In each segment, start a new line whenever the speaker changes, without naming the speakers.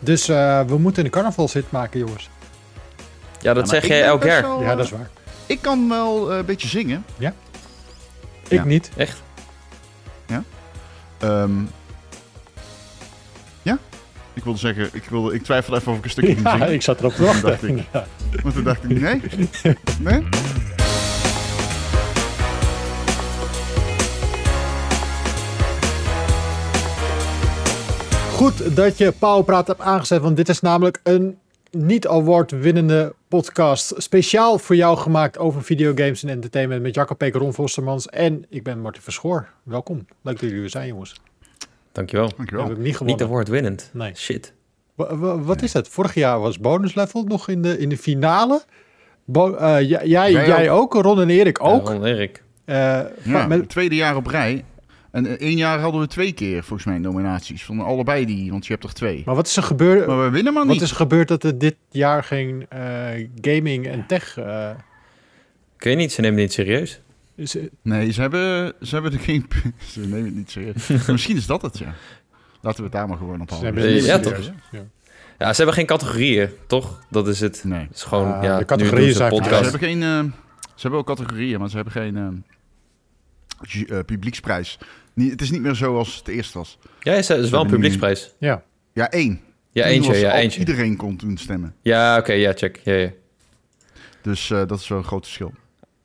Dus eh, we moeten een carnavalshit maken, jongens.
Ja, dat
maar
zeg
ik
jij
ben
elk
best
jaar.
wel,
Ja,
eh,
dat is waar.
Ik kan wel eh, een beetje zingen.
Ik
Ja.
niet.
Echt?
Ehm, ja? Ik wilde zeggen, ik, wilde, ik twijfelde even of ik een stukje ging
Ja,
zingen.
ik zat erop te
Dacht
wachten.
ik. Maar toen dacht ik, nee. Nee?
Goed dat je Pauwpraat hebt aangezet, want dit is namelijk een niet-award winnende podcast. Speciaal voor jou gemaakt over videogames en entertainment met Jacob Peek, Ron Vostermans en ik ben Martin Verschoor. Welkom. Leuk dat jullie er zijn, jongens.
Dankjewel.
We hebben
Dankjewel.
hem niet
Niet
gewonnen.
award winnend.
Nee.
Shit.
Wa- wa- wat is dat? Vorig jaar was bonus level nog in de, in de finale. Bo- eh, j- jij,
Wij
jij ook, Ron en Erik ook.
Ja, Ron Erik.
Eh,
Ja,
met-
het tweede jaar op rij. En eh, één jaar hadden we twee keer, volgens mij, nominaties. Van allebei die, want je hebt er twee.
maar wat is er gebeurd?
Maar we winnen maar
Wat
niet.
is er gebeurd dat er dit jaar geen eh, gaming en tech eh,
Ik weet niet, ze nemen het niet serieus.
is?
Nee, ze hebben, ze hebben er geen... ze nemen het niet serieus. Maar misschien is dat het, ja. Laten we het daar maar gewoon op
Ze
houden.
hebben het niet
Oh, Ja,
serieus. Ja.
Ja, ze hebben geen categorieën, toch? Dat is het.
Nee.
Het is gewoon,
Ah,
ja,
de
nu
categorieën
doen ze
zijn
een
Ja,
Podcast.
ze hebben geen... eh, ze hebben ook categorieën, maar ze hebben geen eh, ju- eh, publieksprijs. Nie- het is niet meer zo als het eerst was.
Ja, ze- het is wel een
hebben nu-
publieksprijs.
Ja.
Ja, één.
Ja,
Toen
eentje,
was
ja,
al-
eentje.
Iedereen kon toen stemmen.
Ja, oké, ja, check. Ja, ja.
Dus eh, dat is wel een groot verschil.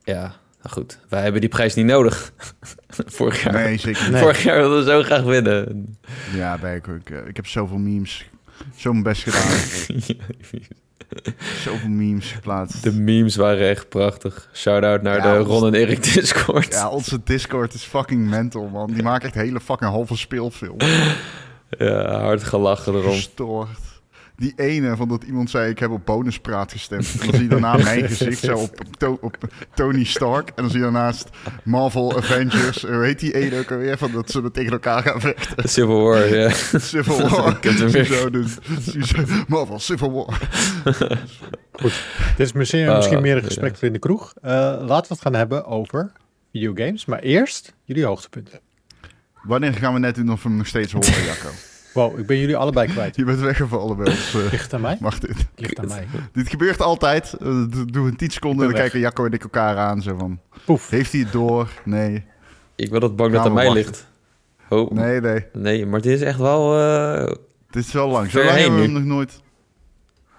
ja, nou goed. Wij hebben die prijs niet nodig. Vorig jaar.
Nee, zeker niet.
Vorig jaar wilden we zo graag winnen.
Ja, ben ik ook. eh, Ik heb zoveel memes. Zo mijn best gedaan. zoveel memes geplaatst.
De memes waren echt prachtig. Shout-out naar
Ja,
de
ons-
Ron en Erik Discord.
Ja, onze Discord is fucking mental, man. Die maakt echt hele fucking halve speelfilm.
Ja, hard gelachen erom.
Gestoord. Die ene van dat iemand zei: Ik heb op bonuspraat gestemd. En dan zie je daarna mijn gezicht zo op, op, To- op Tony Stark. En dan zie je daarnaast Marvel Avengers. eh, Hoe heet die ene ook alweer? Van dat ze me tegen elkaar gaan vechten.
Civil War, ja.
Civil War.
Ik heb hem weer.
Zo doen. Zo, Marvel Civil War.
Dit is misschien,
Ah,
misschien meer een
ja.
gesprek voor in de kroeg. Eh, laten we het gaan hebben over videogames. Maar eerst jullie hoogtepunten.
Wanneer gaan we net doen of we hem nog steeds horen, Jacco?
Wow, ik ben jullie allebei kwijt.
Je bent weggevallen bij ons. eh,
Ligt aan mij?
Mag dit?
Ligt aan mij.
Dit gebeurt altijd. Eh, d- Doe een 10 seconden en
Ik ben
dan kijken Jacco en ik elkaar aan. Zo van,
Poef.
heeft hij het door? Nee.
Ik ben dat bang dat
Nou,
aan mij
wacht.
ligt. Oh, nee.
Nee, nee.
maar dit is echt wel... eh
Dit is wel lang. Zo
Ver
lang
heen
hebben we hem
nu.
nog nooit.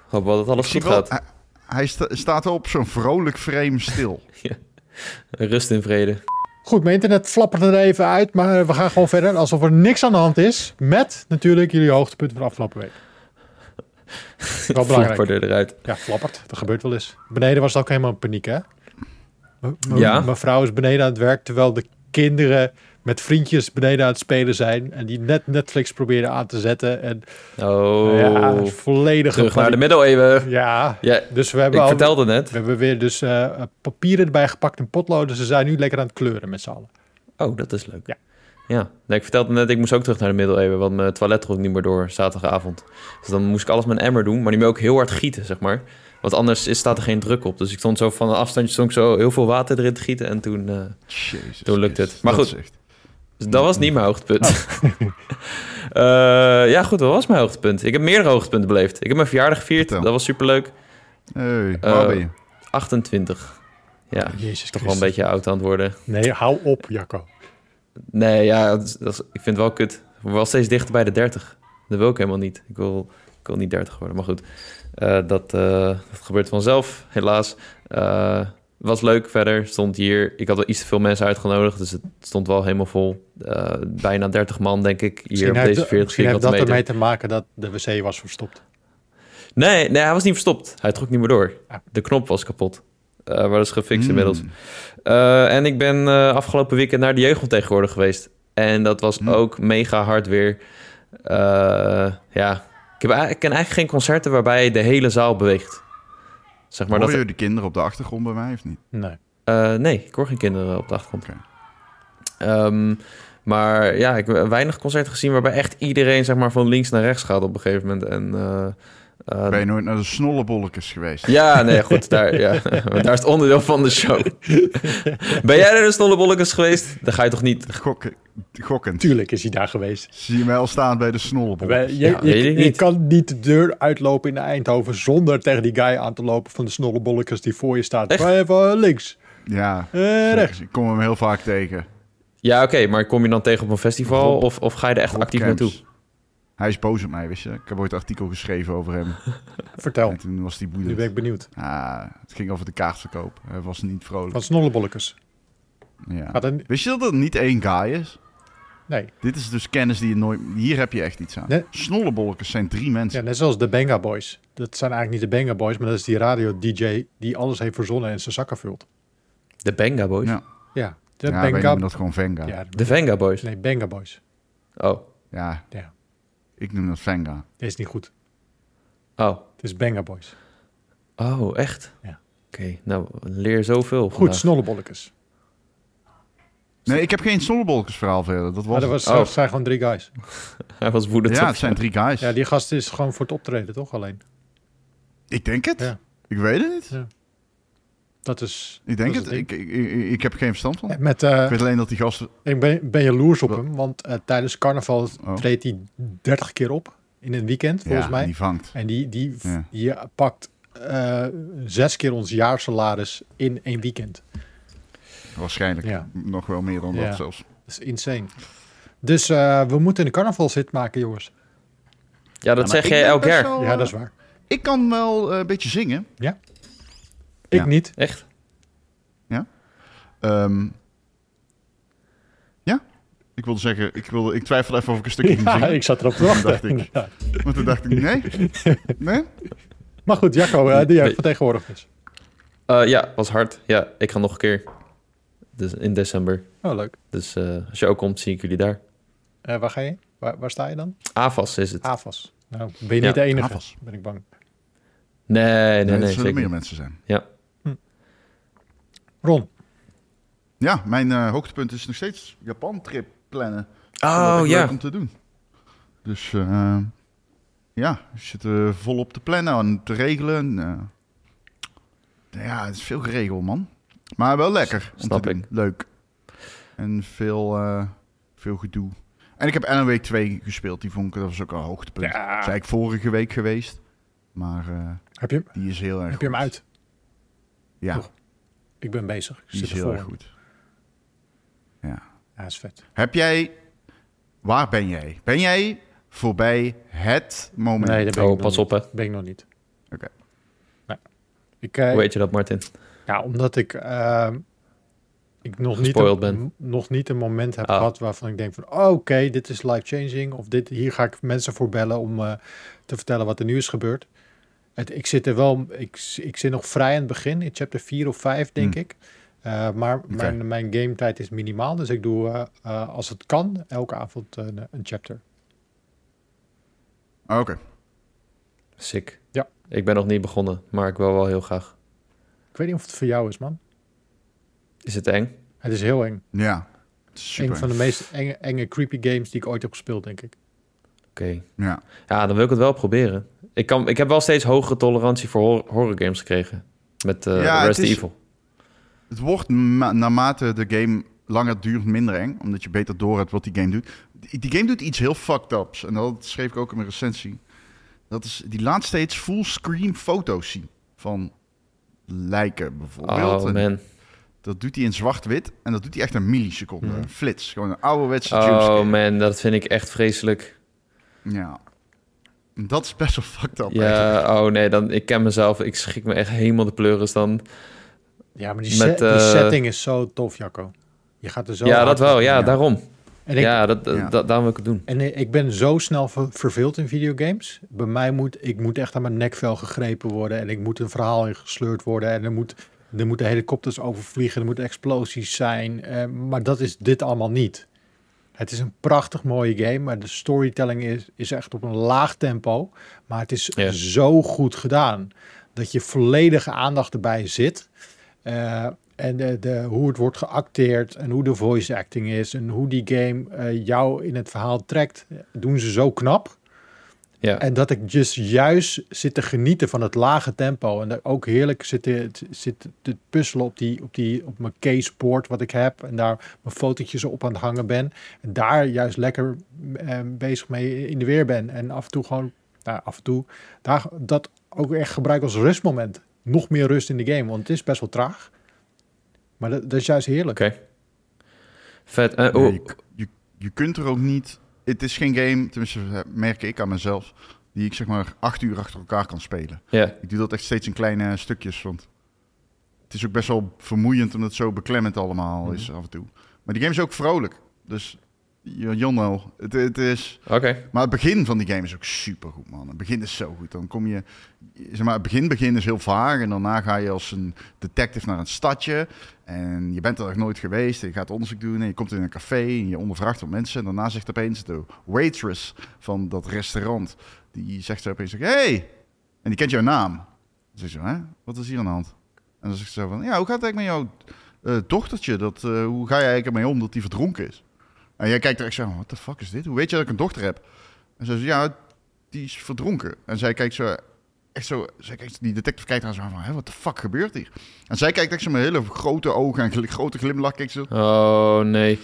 hoop wel dat alles
Zie
goed
je wel,
gaat.
hij hij sta- staat wel op zo'n vrolijk frame stil.
Rust in vrede.
Goed, mijn internet flappert er even uit. Maar we gaan gewoon verder alsof er niks aan de hand is. Met natuurlijk jullie hoogtepunten van de afgelopen week. Wel belangrijk.
Flapperde eruit.
Ja, flappert. Dat gebeurt wel eens. Beneden was het ook helemaal in paniek, hè?
Ja.
Mijn vrouw is beneden aan het werk, terwijl de kinderen met vriendjes beneden aan het spelen zijn. En die net Netflix proberen aan te zetten. En nou
Oh,
ja, volledig...
terug naar de middeleeuwen.
Ja,
Ja,
dus we hebben,
ik
al-
vertelde net.
we hebben weer dus eh, papieren erbij gepakt en potloden. Ze zijn nu lekker aan het kleuren met z'n allen.
Oh, dat is leuk.
Ja.
Ja, nee, ik vertelde net, ik moest ook terug naar de middeleeuwen, want mijn toilet ging niet meer door zaterdagavond. Dus dan moest ik alles met een emmer doen, maar die moet ook heel hard gieten, zeg maar. Want anders is, staat er geen druk op. Dus ik stond zo van een afstandje, stond ik zo heel veel water erin te gieten en toen... eh,
Jezus.
Toen lukt
Christus.
het. Maar
Dat
goed.
is echt-
dus dat was niet mijn hoogtepunt.
Oh.
Eh, ja, goed, dat was mijn hoogtepunt. Ik heb meerdere hoogtepunten beleefd. Ik heb mijn verjaardag gevierd,
Vertel.
dat was superleuk.
Hey, waar
Eh,
ben je?
28. Ja,
Jezus
toch wel een beetje oud aan het worden.
Nee, hou op, Jacco.
Nee, ja, dat is- dat is- ik vind het wel kut. We wel steeds dichter bij de 30. Dat wil ik helemaal niet. Ik wil, ik wil niet 30 worden. Maar goed, eh, dat, eh, dat gebeurt vanzelf, helaas. Eh, was leuk verder. Stond hier. Ik had wel iets te veel mensen uitgenodigd. Dus het stond wel helemaal vol. Eh, bijna 30 man, denk ik. Hier
Misschien
op
heeft,
deze 40
misschien heeft
vierkante
dat
meter.
ermee te maken dat de wc was verstopt.
Nee, nee, hij was niet verstopt. Hij trok niet meer door.
Ah.
De knop was kapot. Eh, maar dat is gefixt
Hmm.
inmiddels. Eh, en ik ben eh, afgelopen weekend naar de jeugd tegenwoordig geweest. En dat was
Hm.
ook mega hard weer. Eh, ja, ik, heb, eigenlijk- ik ken eigenlijk geen concerten waarbij de hele zaal beweegt. Zeg maar
Hoor
dat,
je de kinderen op de achtergrond bij mij of niet?
Nee.
eh, nee, ik hoor geen kinderen op de achtergrond.
Oké.
Ehm, maar ja, ik heb weinig concerten gezien waarbij echt iedereen zeg maar, van links naar rechts gaat op een gegeven moment. En eh, Eh,
Ben je nooit naar de snollebolletjes geweest?
ja, nee, goed. Daar, ja. Want daar is het onderdeel van de show. ben jij naar de snollebollekes geweest? Dan ga je toch niet...
Gokken, gokkend.
Tuurlijk is hij daar geweest.
Zie je mij al staan bij de
Wij-
snollebolletjes?
je,
Ja,
je-
weet ik
je
niet.
kan niet de deur uitlopen in Eindhoven zonder tegen die guy aan te lopen van de snollebollekers die voor je staat.
Echt?
Ga even eh, links,
Ja,
eh, rechts.
zeker. ik kom hem heel vaak tegen.
Ja, oké, maar kom je dan tegen op een festival?
Rob-
of, of ga je er echt
Rob
actief
Camps.
naartoe?
Hij is boos op mij, wist je? Ik heb ooit een artikel geschreven over hem.
Oh.
Vertel,
En toen was hij
nu ben ik
boeiend.
benieuwd.
Ah, het ging over de kaartverkoop. Hij was niet vrolijk.
Van snollebollekers.
Ja.
Gaat er-
Wist je dat het niet één guy is?
Nee,
Dit is dus kennis die je nooit... Hier heb je echt iets aan.
Nee.
Snollebolletjes zijn drie
ja,
mensen.
net zoals de Benga Boys. Dat zijn eigenlijk niet de Benga Boys, maar dat is die radio-dj die alles heeft verzonnen en zijn zakken vult.
De Benga Boys?
Ja.
Ja, de
Ja, wij
Benga...
noemen dat gewoon Venga. Ja.
Ja,
De Venga Boys?
nee, Benga Boys.
Oh,
Ja,
ik noem dat Venga.
dit is niet goed.
oh,
Het is Benga Boys.
oh, echt?
Ja.
Oké, nou, leer zoveel
Goed,
vandaag.
snollebollekers.
Nee, ik heb geen snollebolletjes verhaal verder. Dat was...
Maar Ah, dat
het.
was,
Oh.
dat zijn gewoon drie guys.
Hij was woedend.
Ja,
op-
het zijn drie guys.
Ja, die gast is gewoon voor het optreden, toch? Alleen.
Ik denk het.
Ja.
Ik weet het niet.
Dat is...
Ik denk
dat
het.
is ding.
Ik, ik, ik, ik heb geen verstand van.
Met, eh,
Ik weet alleen dat die gasten...
Ik ben, ben jaloers op
Wat?
hem, want eh, tijdens carnaval
Oh.
treedt hij 30 keer op in een weekend, volgens
ja,
mij.
die vangt.
En die, die, v-
Ja.
die pakt eh, zes keer ons jaarsalaris in één weekend.
Waarschijnlijk.
Ja.
Nog wel meer dan
Ja.
dat zelfs.
Dat is insane. Dus eh, we moeten een carnavalshit maken, jongens.
Ja, dat
Ja, maar
zeg
ik
jij
ben
elk
best
jaar.
wel,
Ja, dat is
eh,
waar.
Ik kan wel eh, een beetje zingen.
Ik
ja.
niet.
Echt?
Ehm, ja, ik wilde zeggen, ik, wilde, ik twijfelde even of ik een stukje ging
Ja,
zingen.
ik zat erop te wachten.
Dacht ik.
inderdaad.
Maar toen dacht ik, nee, nee.
Maar goed, Jacco, eh, die
Nee.
jij vertegenwoordigd is.
Eh, ja, was hard. Ja, ik ga nog een keer. Dus in december.
Oh, leuk.
Dus eh, als je ook komt, zie ik jullie daar.
Eh, waar ga je? Waar, waar sta je dan?
AFAS is het.
AFAS. Nou, ben je niet
Ja,
de enige,
AFAS.
ben ik bang.
Nee, nee, nee.
er zullen
zeker
meer
niet.
mensen zijn.
Ja.
Ron,
Ja, mijn eh, hoogtepunt is nog steeds Japan-trip plannen. Dat
Oh
is
ja.
leuk om te doen. Dus eh, ja, we zitten volop te plannen en te regelen. en, eh, ja, het is veel geregeld, man. Maar wel lekker. om te
Snap
doen.
ik.
Leuk. En veel, eh, veel gedoe. En ik heb NOW 2 gespeeld. Die vond ik, dat was ook een hoogtepunt. Dat zei ik vorige week geweest. Maar eh,
heb je,
die is heel erg
heb je hem
goed.
uit?
Ja,
Nog? Ik ben bezig. Ik
die
zit
is heel
ervoor.
erg goed. Ja.
Ja, is vet.
Heb jij... Waar ben jij? Ben jij voorbij het moment?
Nee, dat ben ik
Oh,
nog
pas
niet.
op hè.
Ben ik nog niet.
Oké.
Nee. Ik, eh,
Hoe weet je dat, Martin?
ja, omdat ik, ehm, ik nog, niet
Gespoild
een,
ben.
nog niet een moment heb
Ah.
gehad waarvan ik denk van... oh, oké, dit is life-changing. Of dit, hier ga ik mensen voor bellen om eh, te vertellen wat er nu is gebeurd. Het, ik zit er wel... Ik, z- ik zit nog vrij aan het begin. In chapter 4 of 5, denk
Hmm.
ik. Eh, maar mijn, mijn game tijd is minimaal. Dus ik doe, eh, eh, als het kan, elke avond een, een chapter.
Oh, Oké.
Sick.
Ja.
Ik ben nog niet begonnen, maar ik wil wel heel graag.
Ik weet niet of het voor jou is, man.
Is het eng?
Het is heel eng.
Ja. Het is Super.
Een van de meest enge, enge creepy games die ik ooit heb gespeeld, denk ik.
Oké.
Ja.
Ja, dan wil ik het wel proberen. Ik, kan, ik heb wel steeds hogere tolerantie voor hor- horror games gekregen. Met eh,
Ja, het
Resident
is-
Evil.
Het wordt ma- naarmate de game langer duurt minder eng. Omdat je beter door hebt wat die game doet. Die die game doet iets heel fucked ups. En dat schreef ik ook in mijn recensie. Dat is, die laat steeds fullscreen foto's zien. Van lijken bijvoorbeeld.
Oh
En
man.
dat doet hij in zwart-wit. En dat doet hij echt een milliseconde.
Mhm.
Een flits. Gewoon een ouderwetse
Oh
jumpscare.
man, dat vind ik echt vreselijk.
Ja. En Dat is best wel fucked up. eigenlijk.
Ja, oh nee, dan, ik ken mezelf. Ik schrik me echt helemaal de pleuris dus dan.
Ja, maar die,
Met,
se- die
eh,
setting is zo tof, Jacco. Je gaat er zo
ja,
hard
dat wel.
op.
Ja,
ja.
daarom.
En ik,
ja, dat,
Ja.
Dat, daarom wil ik het doen.
en i- ik ben zo snel ver- verveeld in videogames. Bij mij moet ik moet echt aan mijn nekvel gegrepen worden. En ik moet een verhaal ingesleurd worden. En er, moet, er moeten helikopters overvliegen. Er moeten explosies zijn. eh, maar dat is dit allemaal niet. Het is een prachtig mooie game. Maar de storytelling is, is echt op een laag tempo. Maar het is
Ja.
zo goed gedaan. Dat je volledige aandacht erbij zit. Eh, en de, de, hoe het wordt geacteerd en hoe de voice acting is en hoe die game eh, jou in het verhaal trekt, doen ze zo knap.
Ja.
En dat ik dus juist zit te genieten van het lage tempo. En dat ook heerlijk zit te, zit te puzzelen op, die, op, die, op mijn caseboard wat ik heb. En daar mijn fotootjes op aan het hangen ben. En daar juist lekker eh, bezig mee in de weer ben. En af en toe gewoon, nou, af en toe, daar, dat ook echt gebruik als rustmoment. Nog meer rust in de game, want het is best wel traag. Maar dat, dat is juist heerlijk.
Oké. Vet. Eh,
Nee,
oh,
je, je, je kunt er ook niet. Het is geen game, tenminste eh, merk ik aan mezelf, die ik zeg maar acht uur achter elkaar kan spelen.
ja.
Ik doe dat echt steeds in kleine stukjes, want het is ook best wel vermoeiend omdat het zo beklemmend allemaal is af en toe. Maar die game is ook vrolijk, dus ja, Jonno, het, het is.
Oké.
Maar het begin van die game is ook super goed, man. Het begin is zo goed. Dan kom je, zeg maar, het begin, begin is heel vaag. En daarna ga je als een detective naar een stadje. En je bent er nog nooit geweest. En je gaat onderzoek doen. En je komt in een café. En je ondervraagt wat mensen. En daarna zegt opeens de waitress van dat restaurant. Die zegt zo opeens: Hey! En die kent jouw naam. Dan zegt ze: Hè? Wat is hier aan de hand? En dan zegt ze zo van: Ja, hoe gaat het eigenlijk met jouw eh, dochtertje? Dat, eh, hoe ga jij eigenlijk ermee om dat die verdronken is? En jij kijkt er echt zo: Wat de fuck is dit? Hoe weet je dat ik een dochter heb? En zij zegt, ja, die is verdronken. En zij kijkt zo, echt zo, zij kijkt, die detective kijkt aan zo van, hè, wat de fuck gebeurt hier? En zij kijkt echt zo met hele grote ogen en gl- grote glimlach, kijkt ze.
Oh, nee.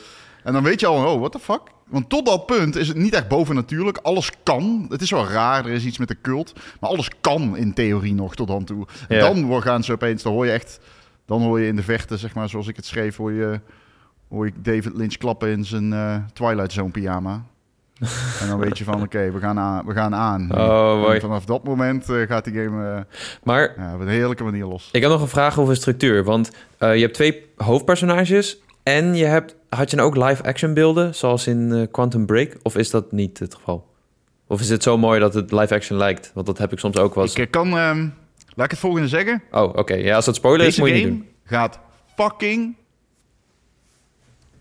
En dan weet je al, oh, what the fuck? Want tot dat punt is het niet echt bovennatuurlijk. Alles kan. Het is wel raar, er is iets met de cult. Maar alles kan in theorie nog tot dan toe. En
Ja.
dan wo- gaan ze opeens, dan hoor je echt... Dan hoor je in de vechten, zeg maar, zoals ik het schreef... hoor je, hoor ik David Lynch klappen in zijn eh, Twilight Zone pyjama. en dan weet je van, oké, we gaan aan. We gaan aan.
Oh,
En
mooi.
vanaf dat moment eh, gaat die game eh,
Maar
ja, op een heerlijke manier los.
ik heb nog een vraag over de structuur. Want eh, je hebt twee hoofdpersonages. En je hebt, had je nou ook live-action beelden, zoals in eh, Quantum Break? Of is dat niet het geval? Of is het zo mooi dat het live-action lijkt? Want dat heb ik soms ook wel eens.
Ik eh, kan... ehm, laat ik het volgende zeggen.
eh,
Oh, oké. Ja, als dat spoiler is,
Deze
moet je niet
game
doen.
gaat fucking.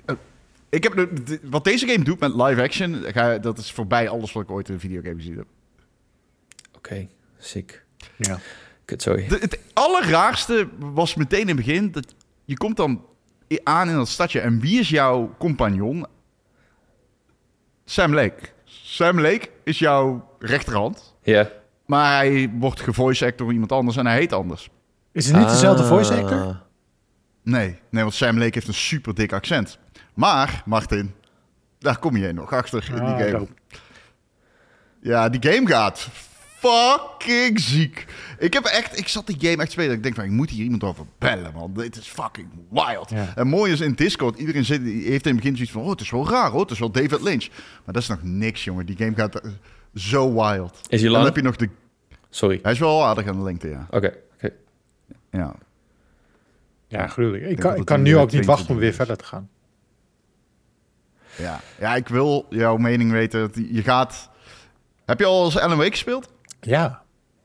Eh, Ik heb de- de- wat deze game doet met live action, ga- dat is voorbij alles wat ik ooit in een videogame gezien heb.
Oké, sick.
Ja.
Kut, sorry.
De- het allerraarste was meteen in het begin dat je komt dan i- aan in dat stadje en wie is jouw compagnon? Sam Lake. Sam Lake is jouw rechterhand,
Ja.
maar hij wordt gevoice act door iemand anders en hij heet anders.
Is het niet dezelfde
Ah.
voice actor?
Nee, nee, want Sam Lake heeft een super dik accent. Maar, Martin, daar kom je nog achter in die
Ah,
game.
zo.
Ja, die game gaat fucking ziek. Ik heb echt, ik zat die game echt te spelen. Ik denk van, ik moet hier iemand over bellen, man. Dit is fucking wild.
Ja.
En mooi is in Discord, iedereen zit, die heeft in het begin zoiets van, oh, het is wel raar, hoor. Het is wel David Lynch. Maar dat is nog niks, jongen. Die game gaat eh, zo wild.
Is hij
Dan
lang?
heb je nog de,
Sorry.
hij is wel aardig aan de lengte, ja.
Oké, oké.
Ja,
Ja, gruwelijk. Ik
denk
kan, ik
dat het
kan
een,
nu
eh,
ook niet wachten om
22
weer verder
is.
te gaan.
Ja. ja, ik wil jouw mening weten. Je gaat. Heb je al eens Alan Wake gespeeld?
Ja,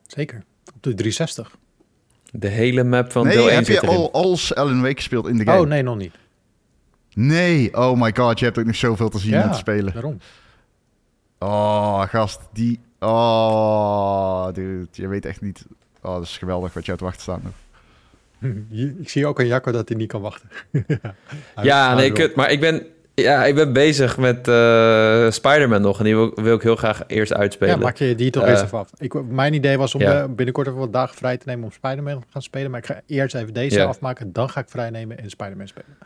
zeker. Op de 360.
De hele map van deel
nee,
1
heb je
zit erin.
al als Alan Wake gespeeld in de game?
Oh, nee, nog niet.
Nee, oh my god, je hebt ook nog zoveel te zien en te spelen.
daarom.
Oh, gast, die. Oh, dude, je weet echt niet. Oh, dat is geweldig wat je uit te wachten staat nog.
Je- Ik zie ook aan Jacco dat hij niet kan wachten. Hij-
Ja,
hij
nee,
wil.
kut. Maar ik ben, ja, ik ben bezig met eh Spider-Man nog. En die wil, wil ik heel graag eerst uitspelen.
Ja, maak je die toch
Eh,
eens even af. Ik, mijn idee was om
ja.
eh, binnenkort even wat dagen vrij te nemen om Spider-Man te gaan spelen. Maar ik ga eerst even deze
Ja.
afmaken. Dan ga ik vrij nemen en Spider-Man spelen.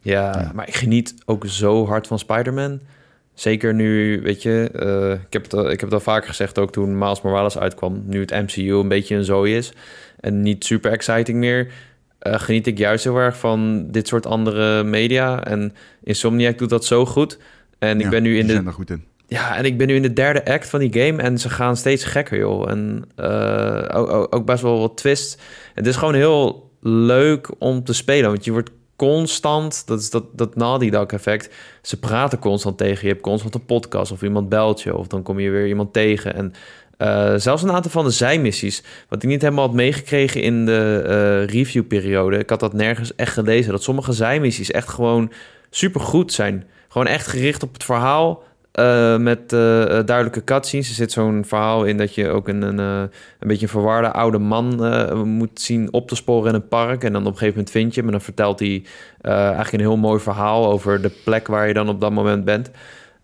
Ja,
Ja.
maar ik geniet ook zo hard van Spider-Man. Zeker nu, weet je, eh, ik, heb het al, ik heb het al vaker gezegd ook toen Miles Morales uitkwam. Nu het MCU een beetje een zooi is en niet super exciting meer, eh, geniet ik juist heel erg van dit soort andere media. En Insomniac doet dat zo goed. En ik ben nu in
die
de
zijn er goed in.
Ja, en ik ben nu in de derde act van die game en ze gaan steeds gekker, joh. En eh, ook, ook- ook best wel wat twist. Het is gewoon heel leuk om te spelen, want je wordt constant... Dat is dat, dat Naughty Dog effect. Ze praten constant tegen je. Je hebt constant een podcast of iemand belt je... of dan kom je weer iemand tegen. En eh, zelfs een aantal van de zijmissies... wat ik niet helemaal had meegekregen in de eh, reviewperiode... ik had dat nergens echt gelezen... dat sommige zijmissies echt gewoon supergoed zijn. Gewoon echt gericht op het verhaal... eh, met eh, eh, duidelijke cutscenes. Er zit zo'n verhaal in dat je ook een, een, eh, een beetje een verwarde oude man eh, moet zien op te sporen in een park. En dan op een gegeven moment vind je hem. En dan vertelt hij eh, eigenlijk een heel mooi verhaal over de plek waar je dan op dat moment bent.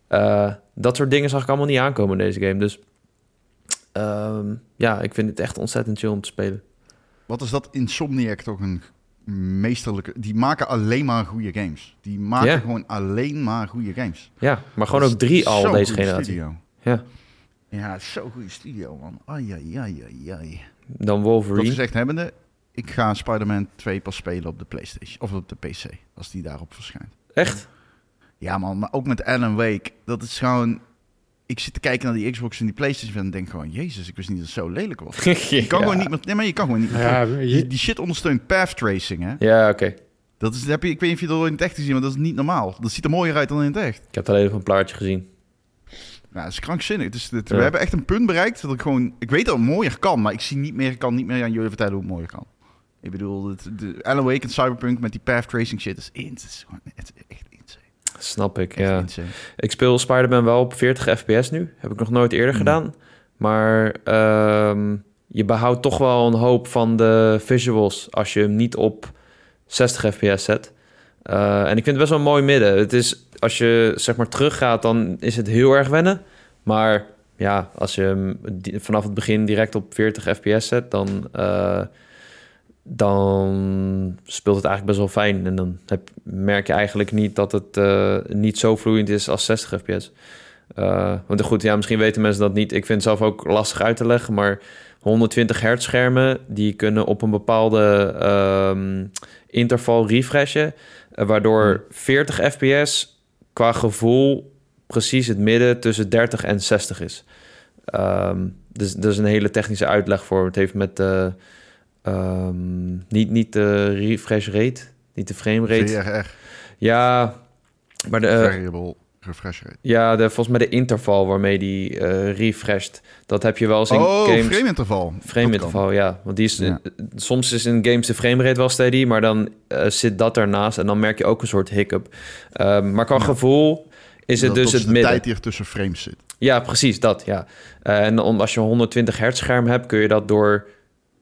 Eh, dat soort dingen zag ik allemaal niet aankomen in deze game. Dus ehm, ja, ik vind het echt ontzettend chill om te spelen.
Wat is dat Insomniac toch een meesterlijke... Die maken alleen maar goede games. Die maken
Ja.
gewoon alleen maar goede games.
Ja, maar gewoon ook drie al
Zo'n
deze
goede
generatie.
studio.
Ja.
Ja, zo'n goede studio, man. Ai, ai, ai, ai, ai.
Dan
Dat
Wolverine.
gezegd hebbende, ik ga Spider-Man 2 pas spelen op de PlayStation. Of op de PC, als die daarop verschijnt.
Echt?
Ja, man, maar ook met Alan Wake. Dat is gewoon... Ik zit te kijken naar die Xbox en die PlayStation en denk gewoon... Jezus, ik wist niet dat het zo lelijk was. Je kan
ja.
gewoon niet met... Nee, maar je kan gewoon niet met...
Ja,
Die,
je-
die shit ondersteunt path tracing, hè?
Ja, oké.
Dat is, heb je, ik weet niet of je dat ooit in het echt gezien, maar dat is niet normaal. Dat ziet er mooier uit dan in het echt.
Ik heb het alleen even een plaatje gezien.
Nou, dat is krankzinnig. Het is, dit-
Ja.
We hebben echt een punt bereikt dat ik gewoon... Ik weet dat het mooier kan, maar ik zie niet meer, ik kan niet meer aan jullie vertellen hoe het mooier kan. Ik bedoel, het, de Alan Wake en Cyberpunk met die path tracing shit is ins. Het is gewoon het is echt insane.
Snap ik,
Echt
ja.
insane.
Ik speel Spider-Man wel op 40 fps nu. Heb ik nog nooit eerder
Mhm.
gedaan. Maar ehm, je behoudt toch wel een hoop van de visuals als je hem niet op 60 fps zet. Eh, en ik vind het best wel een mooi midden. Het is, als je zeg maar teruggaat, dan is het heel erg wennen. Maar ja, als je hem di- vanaf het begin direct op 40 fps zet, dan, eh, dan speelt het eigenlijk best wel fijn. En dan heb, merk je eigenlijk niet dat het eh, niet zo vloeiend is als 60 fps. Eh, want goed, ja, misschien weten mensen dat niet. Ik vind het zelf ook lastig uit te leggen, maar 120 hertz schermen... die kunnen op een bepaalde ehm, interval refreshen... eh, waardoor 40 fps qua gevoel precies het midden tussen 30 en 60 is. Ehm, dus dat is een hele technische uitleg voor. Het heeft met de, ehm, niet, niet de refresh rate, niet de frame rate.
VRR,
Ja, maar de, eh,
variable refresh rate.
ja, de, volgens mij de interval waarmee die eh refresht, dat heb je wel eens in
Oh,
games.
frame interval.
Frame interval, ja. Want die is,
Ja.
eh, soms is in games de framerate wel steady, maar dan eh, zit dat ernaast en dan merk je ook een soort hiccup. Ehm, maar qua
Ja.
gevoel is het dus het
de
midden.
tijd die er tussen frames zit.
Ja, precies, dat, ja. Eh, en om, als je een 120 hertz scherm hebt, kun je dat door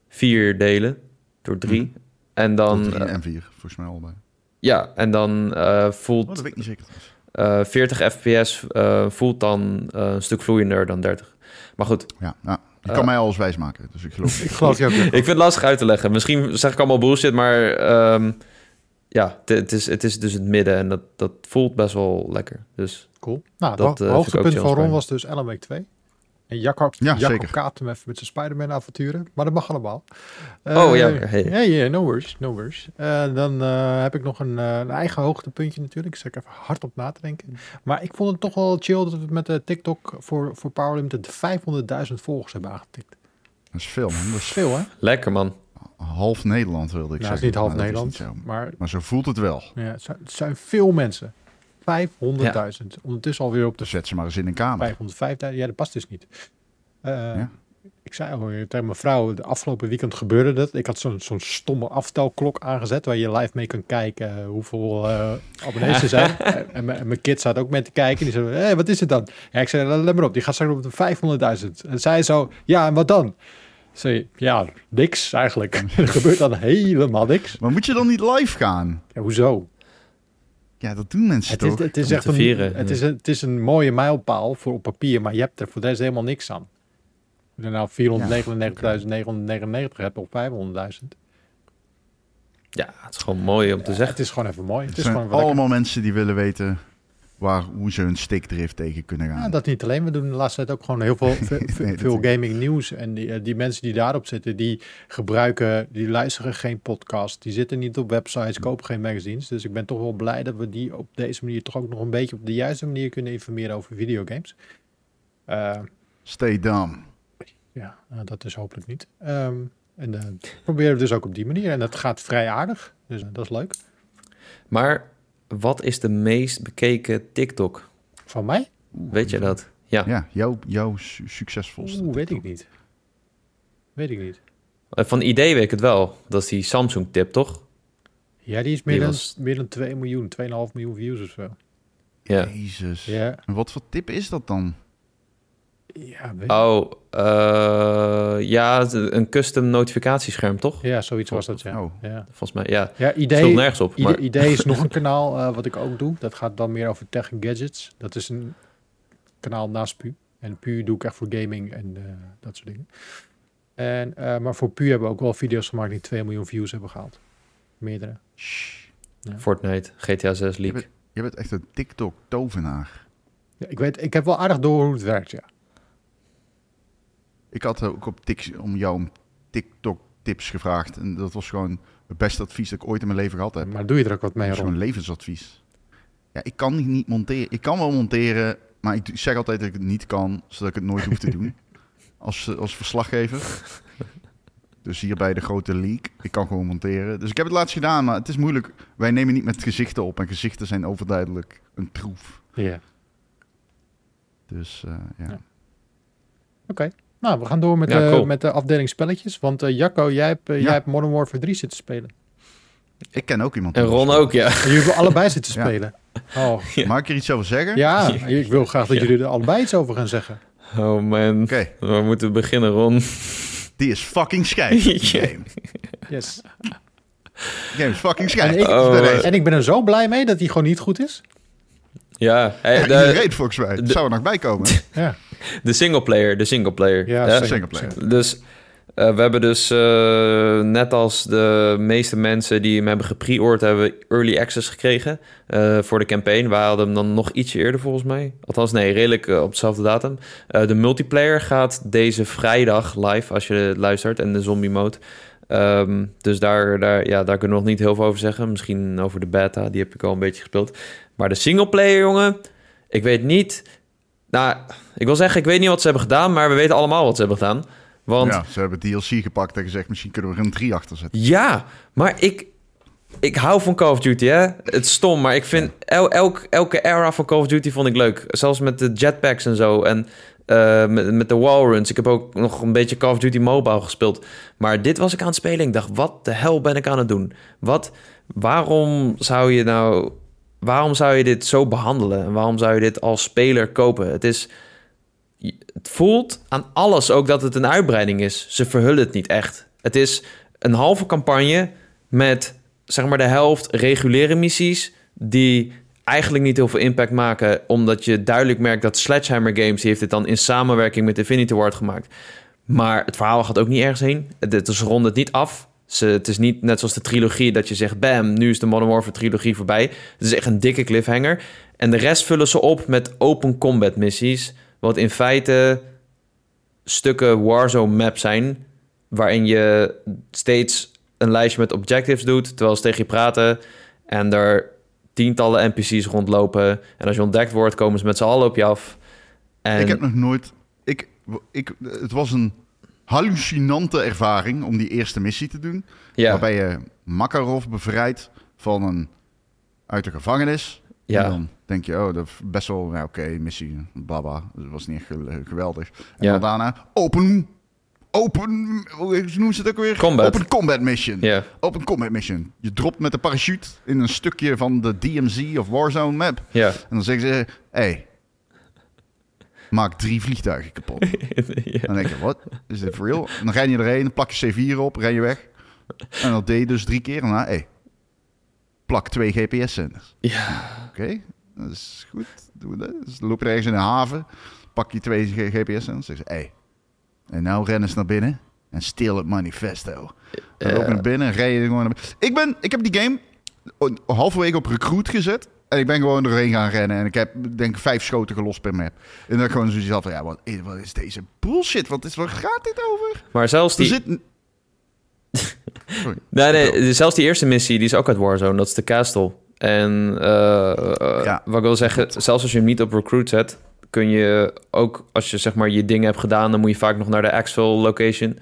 vier delen, door drie.
Mhm.
En dan,
Tot drie
eh,
en 4, volgens mij allebei.
ja, en dan eh,
Oh,
voelt
dat weet ik niet zeker. trouwens.
eh, 40 fps eh, voelt dan eh, een stuk vloeiender dan 30. Maar goed,
Ja, nou, je
Eh.
kan mij alles wijs maken, dus ik geloof
ik geloof je ook.
ik vind het lastig uit te leggen. Misschien zeg ik allemaal bullshit, maar ehm, ja, het- het is, het is dus het midden en dat, dat voelt best wel lekker. Dus
Cool. Nou,
Dat,
dat,
eh, vind ik ook
hoogtepunt
challenge
van Ron
bij.
was dus Alan Wake 2. En Jacob,
Ja,
Jacob
zeker.
kaapt hem even met zijn Spider-Man-avonturen. Maar dat mag allemaal.
Oh, ja,
Eh,
hey.
Ja, ja, no worries, no worries. Eh, dan eh, heb ik nog een, eh, een eigen hoogtepuntje natuurlijk. Ik zit er even hard op na te denken. Maar ik vond het toch wel chill dat we met eh, TikTok voor, voor Power Limited 500.000 volgers hebben aangetikt.
Dat is veel, man. Dat
Dat
is
is veel, hè?
lekker man.
half Nederland, wilde ik
Nou, het is
zeggen.
niet half
Maar dat
Nederland,
niet zo.
maar
Maar zo voelt het wel.
ja, het, zijn, het zijn veel mensen. 500.000. Ondertussen alweer op de
Dus zet ze maar eens in een kamer.
505.000. Ja, dat past dus niet. Eh,
Ja.
Ik zei al eh, tegen mijn vrouw, de afgelopen weekend gebeurde dat. Ik had zo'n zo'n stomme aftelklok aangezet waar je live mee kunt kijken eh, hoeveel eh, abonnees er zijn. en en mijn- en mijn kind zat ook mee te kijken. Die zei, hé, wat is het dan? Ja, ik zei, let maar op, die gaat straks op de 500.000. En zij zo, ja, en wat dan? Ik zei, ja, niks eigenlijk. er gebeurt dan helemaal niks.
Maar moet je dan niet live gaan?
Ja, hoezo?
Ja, dat doen mensen
Het
toch?
is, het is
Om
echt
te
een,
vieren,
het,
ja.
is een, het is een mooie mijlpaal voor op papier, maar je hebt er voor de rest helemaal niks aan. Of je er nou 499.999 hebt of 500.000.
Ja, het is gewoon mooi om te
Ja,
zeggen.
het is gewoon even mooi. Het
Het
is
zijn
gewoon wat
allemaal
lekker.
mensen die willen weten waar, hoe ze hun stickdrift tegen kunnen gaan.
Ja, dat niet alleen. We doen de laatste tijd ook gewoon heel veel, ve- ve-
Nee, dat
veel
is-
gaming nieuws. En die, eh, die mensen die daarop zitten, die gebruiken, die luisteren geen podcast. Die zitten niet op websites, kopen geen magazines. Dus ik ben toch wel blij dat we die op deze manier toch ook nog een beetje op de juiste manier kunnen informeren over videogames. Eh,
Stay dumb.
Ja, nou, dat is hopelijk niet. Ehm, en eh, dat proberen we dus ook op die manier. En dat gaat vrij aardig. Dus eh, dat is leuk.
Maar wat is de meest bekeken TikTok?
Van mij?
Weet je dat? Ja,
Ja, jouw, jouw su- succesvolste.
Oeh, weet ik
TikTok.
niet. Weet ik niet.
Eh, van idee weet ik het wel. Dat is die Samsung tip, toch?
Ja, die is meer,
Die
dan,
was-
meer dan 2 miljoen, 2,5 miljoen views of zo.
Ja.
Jezus.
Ja,
En wat voor tip is dat dan?
ja, weet-
Oh, eh, ja, een custom notificatiescherm, toch?
ja zoiets was dat, ja.
Oh.
Ja,
Volgens mij, ja.
ja
Het stond
idee,
nergens op.
idee,
Maar,
idee is nog een kanaal eh, wat ik ook doe. Dat gaat dan meer over tech en gadgets. Dat is een kanaal naast Pu. En puur doe ik echt voor gaming en eh, dat soort dingen. En, eh, maar voor puur hebben we ook wel video's gemaakt die 2 miljoen views hebben gehaald. Meerdere.
Shh.
Fortnite, GTA 6
Je,
leak.
bent, je bent echt een TikTok-tovenaar.
Ja, ik, weet, ik heb wel aardig door hoe het werkt, ja.
Ik had ook op Tix om jou om TikTok-tips gevraagd. En dat was gewoon het beste advies dat ik ooit in mijn leven gehad heb.
Maar doe je er ook wat mee,
Dat is
Ron?
gewoon levensadvies. Ja, ik kan niet monteren. Ik kan wel monteren, maar ik zeg altijd dat ik het niet kan, zodat ik het nooit hoef te doen. Als, eh, als verslaggever. Dus hier bij de grote leak. Ik kan gewoon monteren. Dus ik heb het laatst gedaan, maar het is moeilijk. Wij nemen niet met gezichten op. En gezichten zijn overduidelijk een troef.
Ja.
Dus eh, ja.
Ja. Nou, we gaan door met,
Ja,
de,
cool.
met de afdeling spelletjes. Want eh, Jacco, jij hebt, eh,
Ja.
jij hebt Modern Warfare 3 zitten spelen.
Ik ken ook iemand.
En
die
Ron
dat
ook, ja.
Jullie hebben allebei zitten
Ja.
spelen. Oh,
speelt. Mag ik er iets over zeggen?
ja. Ik wil graag dat jullie er allebei iets over gaan zeggen.
Oh man,
Oké,
we moeten beginnen, Ron.
die is fucking schijf. Die
Ja.
game.
Yes.
Die game is fucking schijf.
En ik,
Oh,
Bij deze-
en ik ben er zo blij mee dat hij gewoon niet goed is.
Ja, eh,
Ja,
de,
iedereen volgens mij. Dat
de-
zou er nog bij komen.
Ja,
de singleplayer, de singleplayer.
ja,
hè?
zeker.
Singleplayer.
Dus eh, we hebben dus, eh, net als de meeste mensen die hem hebben gepreord, hebben we early access gekregen eh, voor de campaign. Wij hadden hem dan nog ietsje eerder volgens mij. Althans, nee, redelijk eh, op dezelfde datum. Eh, de multiplayer gaat deze vrijdag live als je luistert en de zombie mode. Ehm, dus daar, daar, ja, daar kunnen we nog niet heel veel over zeggen. Misschien over de beta, die heb ik al een beetje gespeeld. Maar de singleplayer, jongen, ik weet niet. Nou, ik wil zeggen, ik weet niet wat ze hebben gedaan, maar we weten allemaal wat ze hebben gedaan. Want
Ja, ze hebben DLC gepakt en gezegd, misschien kunnen we er een 3 achter zetten.
ja, maar ik, ik hou van Call of Duty, hè. Het is stom, maar ik vind el, elk, elke era van Call of Duty vond ik leuk. Zelfs met de jetpacks en zo en eh, met, met de wallruns. Ik heb ook nog een beetje Call of Duty Mobile gespeeld. Maar dit was ik aan het spelen. Ik dacht, wat de hel ben ik aan het doen? Wat, waarom zou je nou... Waarom zou je dit zo behandelen? En waarom zou je dit als speler kopen? Het is... Het voelt aan alles ook dat het een uitbreiding is. Ze verhullen het niet echt. Het is een halve campagne met zeg maar de helft reguliere missies die eigenlijk niet heel veel impact maken, omdat je duidelijk merkt dat Sledgehammer Games die heeft dit dan in samenwerking met Infinity Ward gemaakt. Maar het verhaal gaat ook niet ergens heen. Het, het- ze ronden het niet af. Ze, het is niet net zoals de trilogie dat je zegt, bam, nu is de Modern Warfare trilogie voorbij. Het is echt een dikke cliffhanger. En de rest vullen ze op met open combat missies, wat in feite stukken Warzone map zijn, waarin je steeds een lijstje met objectives doet, terwijl ze tegen je praten en er tientallen NPC's rondlopen. En als je ontdekt wordt, komen ze met z'n allen op je af. En
Ik heb nog nooit... Ik, ik, het was een hallucinante ervaring om die eerste missie te doen.
ja,
Waarbij je Makarov bevrijdt van een... uit de gevangenis. En
ja,
dan denk je, oh, dat is best wel... Nou, oké, missie, blabla. Dat was niet echt ge- geweldig. En
Ja.
dan daarna, open... Open... Hoe noemen ze het ook weer?
Combat.
Open combat mission.
ja,
Open combat mission. Je dropt met de parachute in een stukje van de DMZ of Warzone map.
ja,
En dan zeggen ze, hé, hey, maak drie vliegtuigen kapot.
ja.
Dan denk je, wat? Is dit real? En dan ren je erheen, plak je C4 op, ren je weg. En dat deed je dus drie keer. En dan, hé, hey, plak twee GPS-zenders.
ja.
Oké, dat is goed. Doen we dat. Dus dan loop je ergens in een haven, pak je twee GPS-zenders. Zeggen ze, hé, hey, en nou rennen ze naar binnen en steel het manifesto. Dan loop je naar binnen en rij je gewoon naar binnen. Ik, ben, ik heb die game een- halverwege op recruit gezet. En ik ben gewoon doorheen gaan rennen. En ik heb denk ik vijf schoten gelost per map. En dan gewoon zoiets had van, ja, wat is, wat is deze bullshit? Wat, is, waar gaat dit over?
Maar zelfs
Er
die,
zit... een- Sorry.
nee, nee, zelfs die eerste missie, die is ook uit Warzone, dat is de Castle. En eh, eh,
Ja.
wat ik wil zeggen, zelfs als je hem niet op recruit zet, kun je ook, als je zeg maar je ding hebt gedaan, dan moet je vaak nog naar de Axel location.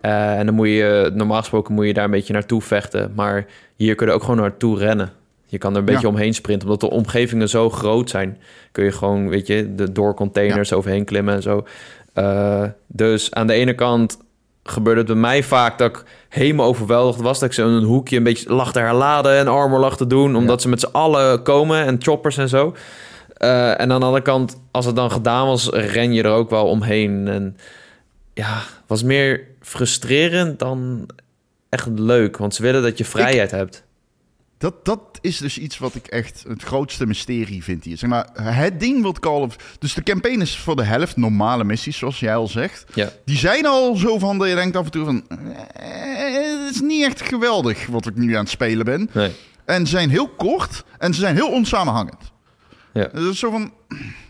Eh, en dan moet je, normaal gesproken moet je daar een beetje naartoe vechten. Maar hier kun je ook gewoon naartoe rennen. Je kan er een beetje
Ja.
omheen sprinten, omdat de omgevingen zo groot zijn. Kun je gewoon, weet je, de, door containers overheen klimmen en zo. Eh, dus aan de ene kant gebeurde het bij mij vaak dat ik helemaal overweldigd was. Dat ik ze in een hoekje een beetje lag te herladen en armor lag te doen. Omdat ze met z'n allen komen en choppers en zo. Eh, en aan de andere kant, als het dan gedaan was, ren je er ook wel omheen. En ja, was meer frustrerend dan echt leuk. Want ze willen dat je vrijheid hebt.
Dat, dat is dus iets wat ik echt het grootste mysterie vind hier. Zeg maar, het ding wat Call of... Dus de campaign is voor de helft normale missies, zoals jij al zegt.
Ja.
Die zijn al zo van dat je denkt af en toe van... eh, Het is niet echt geweldig wat ik nu aan het spelen ben.
Nee.
En ze zijn heel kort en ze zijn heel onsamenhangend.
Ja.
Dus dat is zo van,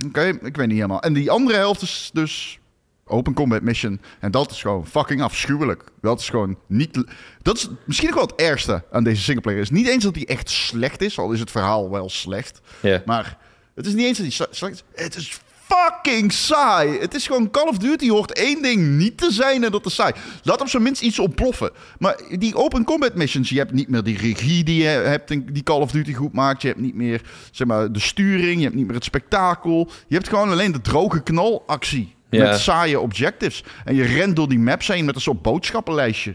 oké, ik weet niet helemaal. En die andere helft is dus Open Combat Mission. En dat is gewoon fucking afschuwelijk. Dat is gewoon niet... Dat is misschien ook wel het ergste aan deze singleplayer. is niet eens dat die echt slecht is, al is het verhaal wel slecht.
Ja.
Maar het is niet eens dat die sle- slecht is. Het is fucking saai. Het is gewoon Call of Duty hoort één ding niet te zijn en dat is saai. Laat op zijn minst iets ontploffen. Maar die open combat missions, je hebt niet meer die regie die je hebt in- die Call of Duty goed maakt. Je hebt niet meer zeg maar, de sturing, je hebt niet meer het spektakel. Je hebt gewoon alleen de droge knalactie.
Ja.
Met saaie objectives. En je rent door die maps heen met een soort boodschappenlijstje.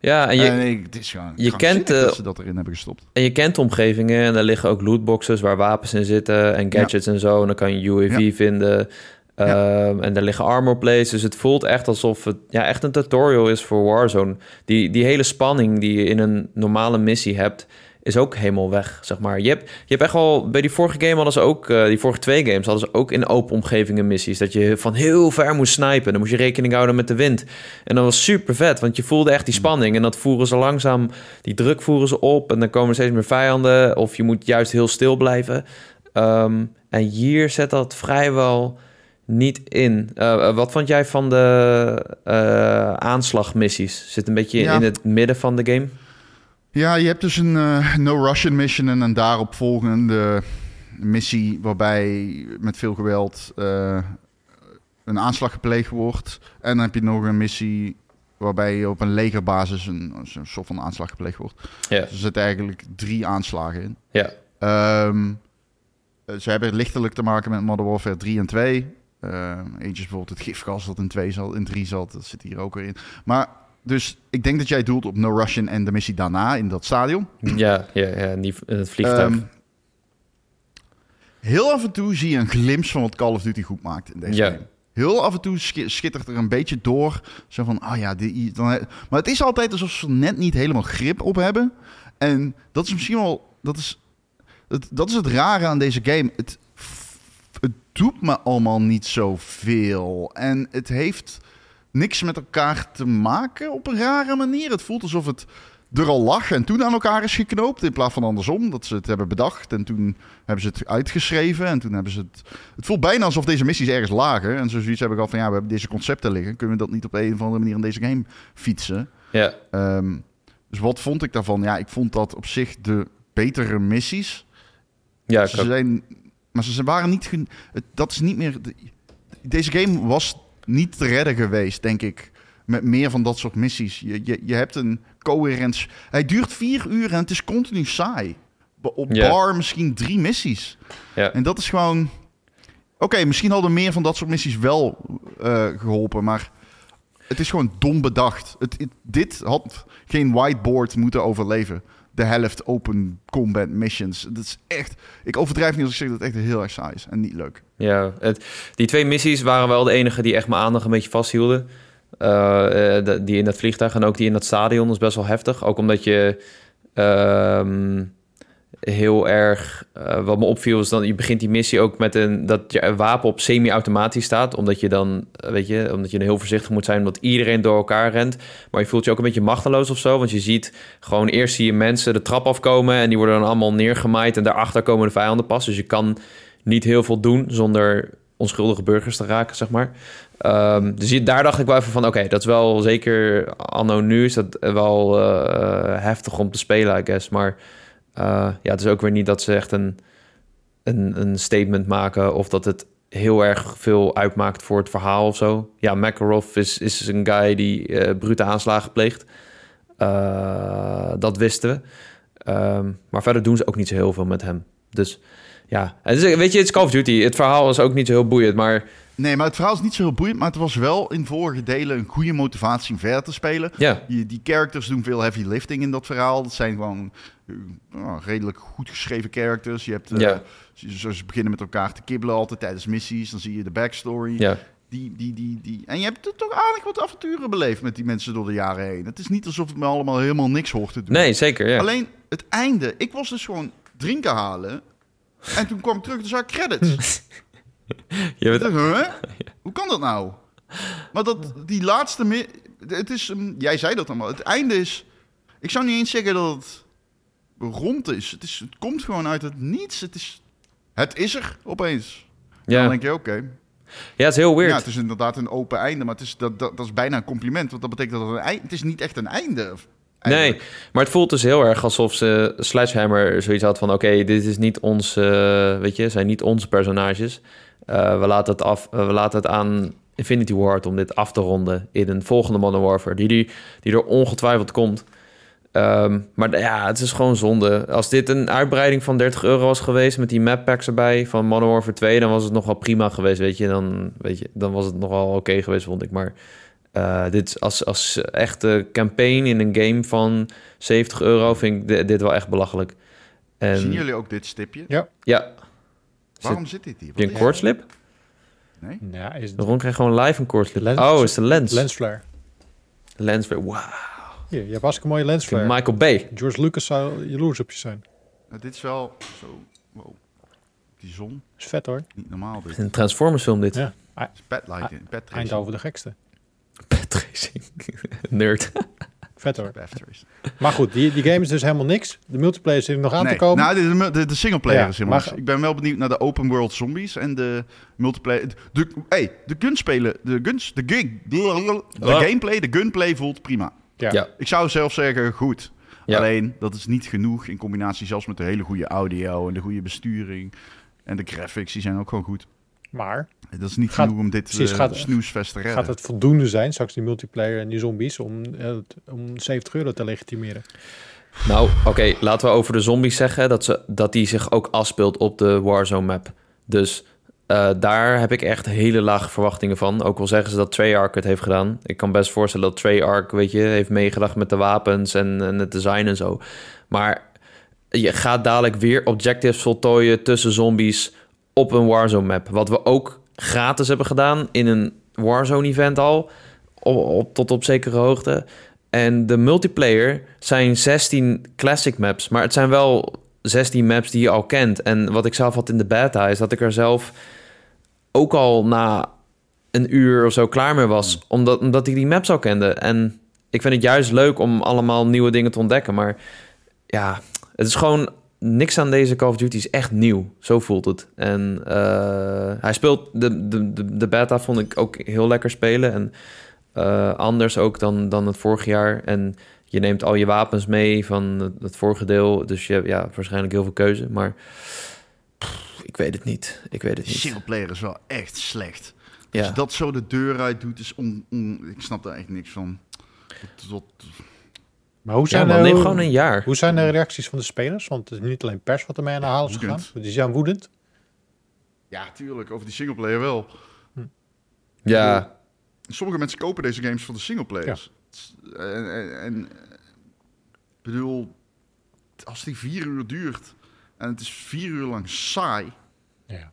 ja, en
En
je,
ik- het is gewoon
je
krankzinnig
kent, eh,
dat ze dat erin hebben gestopt.
En je kent de omgevingen en daar liggen ook lootboxes waar wapens in zitten en gadgets en zo. En dan kan je UAV vinden. Ehm, En daar liggen armor plates. Dus het voelt echt alsof het ja, echt een tutorial is voor Warzone. Die, die hele spanning die je in een normale missie hebt, is ook helemaal weg, zeg maar. Je hebt, je hebt echt al... Bij die vorige game hadden ze ook... eh, die vorige twee games hadden ze ook in open omgevingen missies. Dat je van heel ver moest snipen. Dan moest je rekening houden met de wind. En dat was super vet, want je voelde echt die spanning. En dat voeren ze langzaam... Die druk voeren ze op en dan komen er steeds meer vijanden. Of je moet juist heel stil blijven. Ehm, en hier zet dat vrijwel niet in. Eh, eh, wat vond jij van de eh, aanslagmissies? Zit een beetje
Ja.
in het midden van de game?
Ja, je hebt dus een eh, No Russian Mission en een daarop volgende missie waarbij met veel geweld eh, een aanslag gepleegd wordt. En dan heb je nog een missie waarbij je op een legerbasis een, een soort van aanslag gepleegd wordt.
Ja.
Dus er zitten eigenlijk drie aanslagen in.
Ja.
Ehm, eh, ze hebben lichtelijk te maken met Modern Warfare 3 en 2. Ehm, eentje is bijvoorbeeld het gifgas dat in 2 zat, in 3 zat. Dat zit hier ook weer in. Maar dus ik denk dat jij doelt op No Russian en de missie daarna in dat stadion.
Ja, ja, ja en die, en het vliegtuig.
Ehm, heel af en toe zie je een glimp van wat Call of Duty goed maakt in deze
Ja.
game. Heel af en toe schi- schittert er een beetje door. Zo van, ah ja, die, dan, he- maar het is altijd alsof ze er net niet helemaal grip op hebben. En dat is misschien wel, dat is, dat, dat is het rare aan deze game. Het, f- het doet me allemaal niet zoveel. En het heeft niks met elkaar te maken op een rare manier. Het voelt alsof het er al lag en toen aan elkaar is geknoopt. In plaats van andersom, dat ze het hebben bedacht. En toen hebben ze het uitgeschreven. En toen hebben ze het. Het voelt bijna alsof deze missies ergens lagen. En zo zoiets heb ik al van ja, we hebben deze concepten liggen. Kunnen we dat niet op een of andere manier in deze game fietsen?
ja.
Ehm, dus wat vond ik daarvan? Ja, ik vond dat op zich de betere missies.
ja, ik
Ze
ook.
zijn, maar ze ze waren niet. gen- het- Dat is niet meer. de- Deze game was niet te redden geweest, denk ik. Met meer van dat soort missies. Je, je, je hebt een coherent. Hij duurt vier uur en het is continu saai. Ba- Op
Ja.
bar misschien drie missies.
Ja.
En dat is gewoon. Oké, misschien hadden meer van dat soort missies wel eh, geholpen. Maar het is gewoon dom bedacht. Het, het- dit had geen whiteboard moeten overleven. De helft open combat missions. Dat is echt. Ik overdrijf niet als ik zeg dat het echt heel erg saai is en niet leuk.
Ja, het, die twee missies waren wel de enige die echt mijn aandacht een beetje vasthielden. Eh, eh, de- die in dat vliegtuig en ook die in dat stadion is best wel heftig. Ook omdat je ehm, heel erg... eh, wat me opviel is dan je begint die missie ook met een... dat je wapen op semi-automatisch staat. Omdat je dan, eh, weet je, omdat je dan heel voorzichtig moet zijn... omdat iedereen door elkaar rent. Maar je voelt je ook een beetje machteloos of zo. Want je ziet gewoon eerst zie je mensen de trap afkomen... en die worden dan allemaal neergemaaid. En daarachter komen de vijanden pas. Dus je kan niet heel veel doen zonder onschuldige burgers te raken, zeg maar. Ehm, dus je- daar dacht ik wel even van, oké, dat is wel zeker anno nu is dat wel eh, heftig om te spelen, I guess. Maar eh, ja, het is ook weer niet dat ze echt een, een, een statement maken of dat het heel erg veel uitmaakt voor het verhaal of zo. Ja, Makarov is, is een guy die eh, brute aanslagen pleegt. Eh, dat wisten we. Ehm, maar verder doen ze ook niet zo heel veel met hem. Dus ja, het is, weet je, het is Call of Duty. Het verhaal is ook niet zo heel boeiend, maar
Nee, maar het verhaal is niet zo heel boeiend. Maar het was wel in vorige delen een goede motivatie om verder te spelen.
ja.
Die, die characters doen veel heavy lifting in dat verhaal. Dat zijn gewoon eh, nou, redelijk goed geschreven characters. Je hebt, eh,
Ja.
ze, ze- ze beginnen met elkaar te kibbelen altijd tijdens missies. Dan zie je de backstory.
ja.
Die, die, die, die. En je hebt toch aardig wat avonturen beleefd met die mensen door de jaren heen. Het is niet alsof het me allemaal helemaal niks hoort te doen.
Nee, zeker, ja.
Alleen, het het einde. Ik was dus gewoon drinken halen. En toen kwam ik terug, dus zag ik credits.
Je
Ik
bent,
dacht, huh? Hoe kan dat nou? Maar dat, die laatste... mi- Het is, ehm, jij zei dat allemaal. Het einde is... Ik zou niet eens zeggen dat het rond is. Het, is, het komt gewoon uit het niets. Het is, het is er opeens. Dan
ja.
denk je, oké.
ja, het is heel weird.
Ja, het is inderdaad een open einde, maar het is, dat, dat, dat is bijna een compliment. Want dat betekent dat het, een eind, het is niet echt een einde is.
Nee, maar het voelt dus heel erg alsof ze Sledgehammer zoiets had van... oké, dit is niet ons, eh, weet je, zijn niet onze personages. Eh, we, laten het af, eh, we laten het aan Infinity Ward om dit af te ronden... in een volgende Modern Warfare, die, die, die er ongetwijfeld komt. Ehm, maar d- ja, het is gewoon zonde. Als dit een uitbreiding van 30 euro was geweest... met die map packs erbij van Modern Warfare 2... dan was het nog wel prima geweest, weet je. Dan, weet je, dan was het nog wel oké geweest, vond ik. Maar eh, dit is als, als echte campaign in een game van 70 euro vind ik di- dit, wel echt belachelijk.
Zien
En
jullie ook dit stipje?
ja,
Waarom zit dit hier?
heb je
Wat
een
is
koortslip?
Nee?
Ja, is het
Ron krijgt gewoon live een koortslip.
Lens.
Oh, is de lens. Lens,
lensflare.
weer. Wauw.
Hier, je hebt hartstikke mooie lensflare.
Michael Bay.
George Lucas zou jaloers op je zijn.
Nou, dit is wel zo... Wow. Die zon,
Is vet hoor.
niet normaal dit.
Een Transformers film dit.
Ja.
Het is bedlighting, bedtracing.
Eindhoven de gekste.
Patracing. Nerd.
Vet hoor.
Bedtracing.
Maar goed, die, die game is dus helemaal niks. De multiplayer zit er nog aan
Nee,
te komen.
nou, de, de, de singleplayer
Ja,
is helemaal...
maar-
Ik ben wel benieuwd naar de open world zombies en de multiplayer... De, hey, de gunspelen, de guns, de gig, de, de
Oh.
gameplay, de gunplay voelt prima.
ja.
ja.
Ik zou zelf zeggen, goed.
Ja.
Alleen, dat is niet genoeg in combinatie zelfs met de hele goede audio en de goede besturing. En de graphics, die zijn ook gewoon goed.
Maar
Dat is niet
Gaat-
genoeg om dit
precies,
eh,
gaat-
snoesvest te redden.
gaat het voldoende zijn, straks die multiplayer en die zombies, om, eh, t- om 70 euro te legitimeren?
Nou, oké, laten we over de zombies zeggen dat, ze, dat die zich ook afspeelt op de Warzone map. Dus eh, daar heb ik echt hele lage verwachtingen van. Ook al zeggen ze dat Treyarch het heeft gedaan. Ik kan best voorstellen dat Treyarch, weet je, heeft meegedacht met de wapens en, en het design en zo. Maar je gaat dadelijk weer objectives voltooien tussen zombies op een Warzone map. Wat we ook gratis hebben gedaan in een Warzone event al. Op, op- tot op zekere hoogte. En de multiplayer zijn 16 classic maps. Maar het zijn wel 16 maps die je al kent. En wat ik zelf had in de beta is dat ik er zelf ook al na een uur of zo klaar mee was. Omdat, omdat ik die maps al kende. En ik vind het juist leuk om allemaal nieuwe dingen te ontdekken. Maar ja, het is gewoon niks aan deze Call of Duty is echt nieuw. Zo voelt het. En eh, hij speelt de, de, de, de beta vond ik ook heel lekker spelen. En eh, anders ook dan, dan het vorig jaar. En je neemt al je wapens mee van het, het vorige deel. Dus je hebt ja, waarschijnlijk heel veel keuze. Maar pff, ik weet het niet. Ik weet het
De
niet.
singleplayer is wel echt slecht.
Ja.
Als je dat zo de deur uit doet, is on, on- ik snap daar echt niks van. Dat- dat-
Maar hoe
Ja,
zijn,
man,
de,
eh,
neem gewoon een jaar.
hoe zijn de reacties van de spelers? Want het is niet alleen pers wat ermee aan de haal is gegaan.
Woedend.
Die zijn woedend.
ja, tuurlijk, over die singleplayer wel.
Ja,
Sommige mensen kopen deze games voor de singleplayers. players. En, en, en, ik bedoel, als die vier uur duurt en het is vier uur lang saai.
Ja.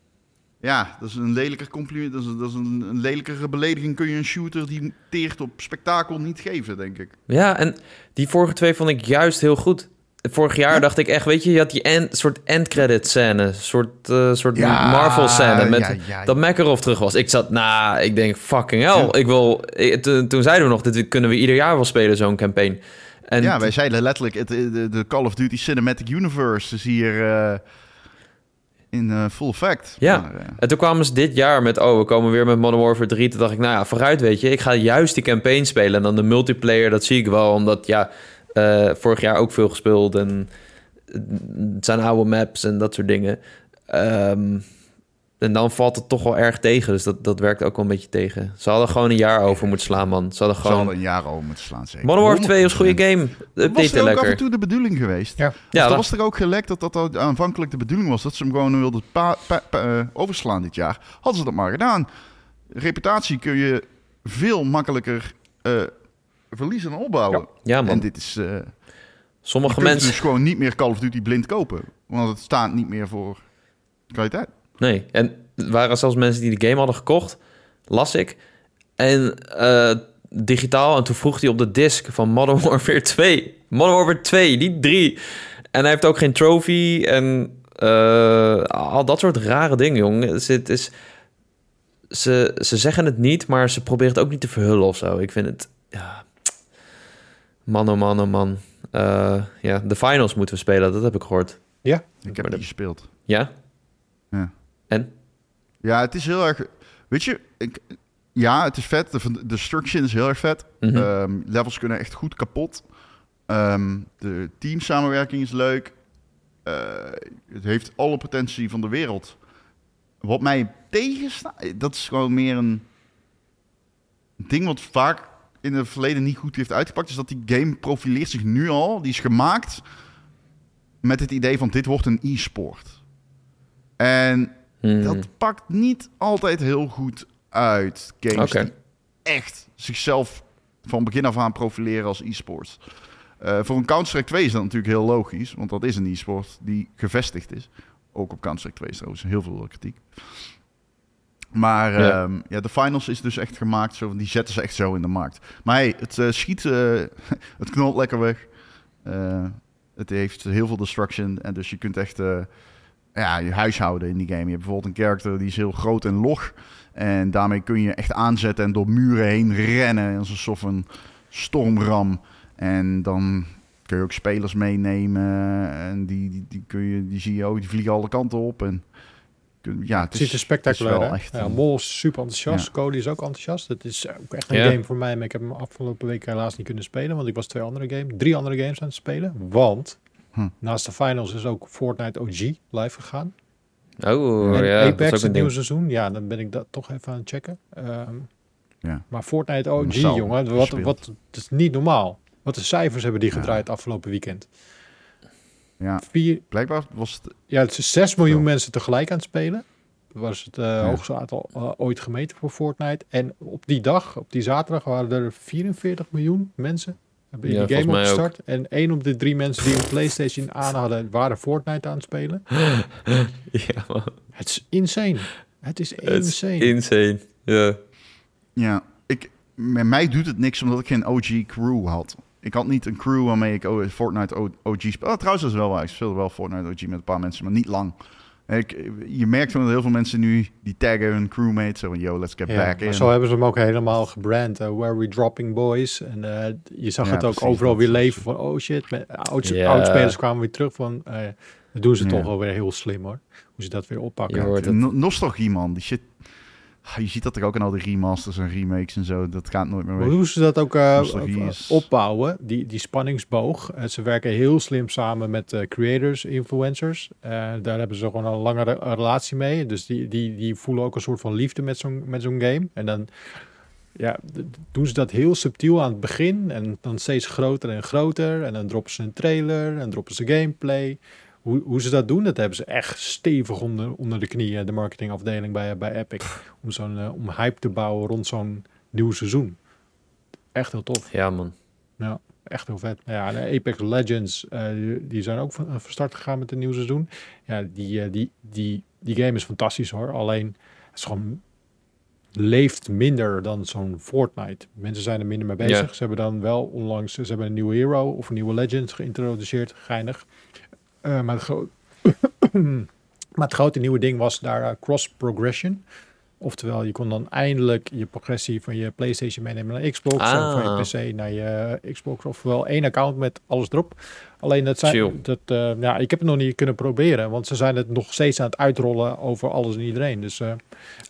Ja, dat is een lelijker compliment. Dat is, dat is een, een lelijkere belediging. Kun je een shooter die teert op spektakel niet geven, denk ik.
ja, en die vorige twee vond ik juist heel goed. Vorig jaar dacht ik echt, weet je, je had die end, soort endcredit scène, soort, eh, soort
Ja,
Marvel scène met
ja, ja,
dat Makarov terug was. Ik zat, nou, ik denk fucking hell, ik wil. ik- toen, toen zeiden we nog, dit kunnen we ieder jaar wel spelen zo'n campaign. En
ja, wij zeiden letterlijk, het, eh, de, de Call of Duty Cinematic Universe is hier eh, in eh, full effect.
Ja.
Maar, eh,
En toen kwamen ze dit jaar met, oh, we komen weer met Modern Warfare 3. Toen dacht ik, nou ja, vooruit weet je. Ik ga juist die campaign spelen. En dan de multiplayer, dat zie ik wel. Omdat, ja, eh, vorig jaar ook veel gespeeld. En het zijn oude maps en dat soort dingen. Ehm, en dan valt het toch wel erg tegen. Dus dat, dat werkt ook wel een beetje tegen. Ze hadden gewoon een jaar over moeten slaan, man. Ze hadden
ze hadden
gewoon...
een jaar over moeten slaan, zeker.
Modern Warfare 2 was een
100%.
goede game.
Dat was
Update
er ook af
lekker.
en toe de bedoeling geweest.
Ja.
Ja,
Ja, dat
dat-
was er ook gelekt dat dat al aanvankelijk de bedoeling was. Dat ze hem gewoon wilden pa- pa- pa- eh, overslaan dit jaar. Hadden ze dat maar gedaan. Reputatie kun je veel makkelijker eh, verliezen en opbouwen.
Ja, man.
En dit is... eh,
Sommige
je kunt
mensen...
dus gewoon niet meer Call of Duty blind kopen. Want het staat niet meer voor kwaliteit.
Nee, en er waren zelfs mensen die de game hadden gekocht, las ik. En eh, digitaal, en toen vroeg hij op de disc van Modern Warfare 2. Modern Warfare 2, niet 3. En hij heeft ook geen trophy en eh, al dat soort rare dingen, jong. Het is- het is, ze, ze zeggen het niet, maar ze proberen het ook niet te verhullen of zo. Ik vind het... Ja, man, oh man, oh man. Eh, ja, de finals moeten we spelen, dat heb ik gehoord.
Ik heb
Maar
niet
dat-
gespeeld.
Ja?
Ja, het is heel erg... Weet je, ik, ja, het is vet. De, van- de destruction is heel erg vet.
Mhm.
Ehm, levels kunnen echt goed kapot. Ehm, de teamsamenwerking is leuk. Eh, het heeft alle potentie van de wereld. Wat mij tegenstaat, dat is gewoon meer een ding wat vaak in het verleden niet goed heeft uitgepakt. Is dat die game profileert zich nu al. Die is gemaakt met het idee van dit wordt een e-sport. En
Hmm.
dat pakt niet altijd heel goed uit. Games
Oké.
die echt zichzelf van begin af aan profileren als e-sport. Eh, voor een Counter-Strike 2 is dat natuurlijk heel logisch, want dat is een e-sport die gevestigd is. Ook op Counter-Strike 2 is trouwens heel veel kritiek. Maar
Ja.
ehm, ja, de finals is dus echt gemaakt, zo, van, die zetten ze echt zo in de markt. Maar hey, het eh, schiet, eh, het knalt lekker weg. Eh, het heeft heel veel destruction. En dus je kunt echt eh, ja, je huishouden in die game. Je hebt bijvoorbeeld een character die is heel groot en log. En daarmee kun je echt aanzetten en door muren heen rennen. Als een soort van stormram. En dan kun je ook spelers meenemen. En die, die, die, kun je, die zie je ook, die vliegen alle kanten op. En kun- ja, het
Het ziet er
is,
spectaculair
het Dus is
uit. Echt
wel echt
ja,
een-
Mol is super enthousiast.
Ja.
Cody is ook enthousiast. Het is ook echt een
Ja.
game voor mij. Maar ik heb hem afgelopen week helaas niet kunnen spelen. Want ik was twee andere games, drie andere games aan het spelen. Want
Hm.
naast de finals is ook Fortnite OG live gegaan.
Oh,
en
ja,
Apex
dat is ook
het
een
nieuwe
ding.
seizoen. Ja, dan ben ik dat toch even aan het checken. Ehm,
Ja.
Maar Fortnite OG,
Massaal
jongen. Wat,
gespeeld.
wat, het is niet normaal. Wat de cijfers hebben die
Ja.
gedraaid afgelopen weekend.
ja,
Vier,
blijkbaar was het...
ja, het is 6 miljoen
Zo.
mensen tegelijk aan het spelen. Dat was het eh, hoogste aantal eh, ooit gemeten voor Fortnite. En op die dag, op die zaterdag, waren er 44 miljoen mensen. Hebben in
Ja,
die game
volgens mij ook.
opgestart. En één op de drie mensen die een PlayStation aan hadden, waren Fortnite aan het spelen.
Ja, man.
Het is insane. Het is
Het is
insane.
insane. Ja.
Ja, ik, met mij doet het niks omdat ik geen OG crew had. Ik had niet een crew waarmee ik oh, Fortnite O- OG speel. Oh, trouwens, dat is wel waar. Ik speelde wel Fortnite OG met een paar mensen, maar niet lang. Ik, je merkt gewoon dat heel veel mensen nu die taggen hun crewmates. Zo van, yo, let's get
Ja,
back in.
maar zo hebben ze hem ook helemaal gebrand. eh, where we dropping boys. En eh, je zag
Ja,
het ook
precies,
overal
dat
weer
is-
leven. Van, oh shit, met, oud,
Ja.
spelers kwamen weer terug. Van, eh, dat doen ze
Ja.
toch alweer heel slim hoor. Hoe ze dat weer oppakken.
Je hoort
De no- nostalgie, man. Die shit. Ah, Je ziet dat er ook in al die remasters en remakes en zo. Dat gaat nooit meer
Maar
weg.
hoe ze dat ook eh,
Nostalgie is-
opbouwen, die, die spanningsboog. Eh, ze werken heel slim samen met eh, creators, influencers. Eh, daar hebben ze gewoon een langere relatie mee. Dus die, die, die voelen ook een soort van liefde met zo'n, met zo'n game. En dan ja, d- d- doen ze dat heel subtiel aan het begin. En dan steeds groter en groter. En dan droppen ze een trailer en droppen ze gameplay. Hoe, hoe ze dat doen, dat hebben ze echt stevig onder, onder de knieën, de marketingafdeling bij, bij Epic. Om, zo'n, eh, om hype te bouwen rond zo'n nieuw seizoen. Echt heel tof.
ja, man.
Echt heel vet. Nou Ja, de Apex Legends, eh, die- die zijn ook van, van start gegaan met een nieuw seizoen. Ja, die, eh, die, die, die game is fantastisch hoor. Alleen, het is gewoon leeft minder dan zo'n Fortnite. Mensen zijn er minder mee bezig.
Ja.
Ze hebben dan wel onlangs, ze hebben een nieuwe hero of een nieuwe legend geïntroduceerd. Geinig. Eh, maar, het gro- maar het grote nieuwe ding was daar eh, cross progression. Oftewel, je kon dan eindelijk je progressie van je PlayStation meenemen naar Xbox. En van
Ah.
je PC naar je eh, Xbox. Oftewel één account met alles erop. Alleen dat zijn.
Chill.
Dat, eh, ja, ik heb het nog niet kunnen proberen. Want ze zijn het nog steeds aan het uitrollen over alles en iedereen. Dus eh,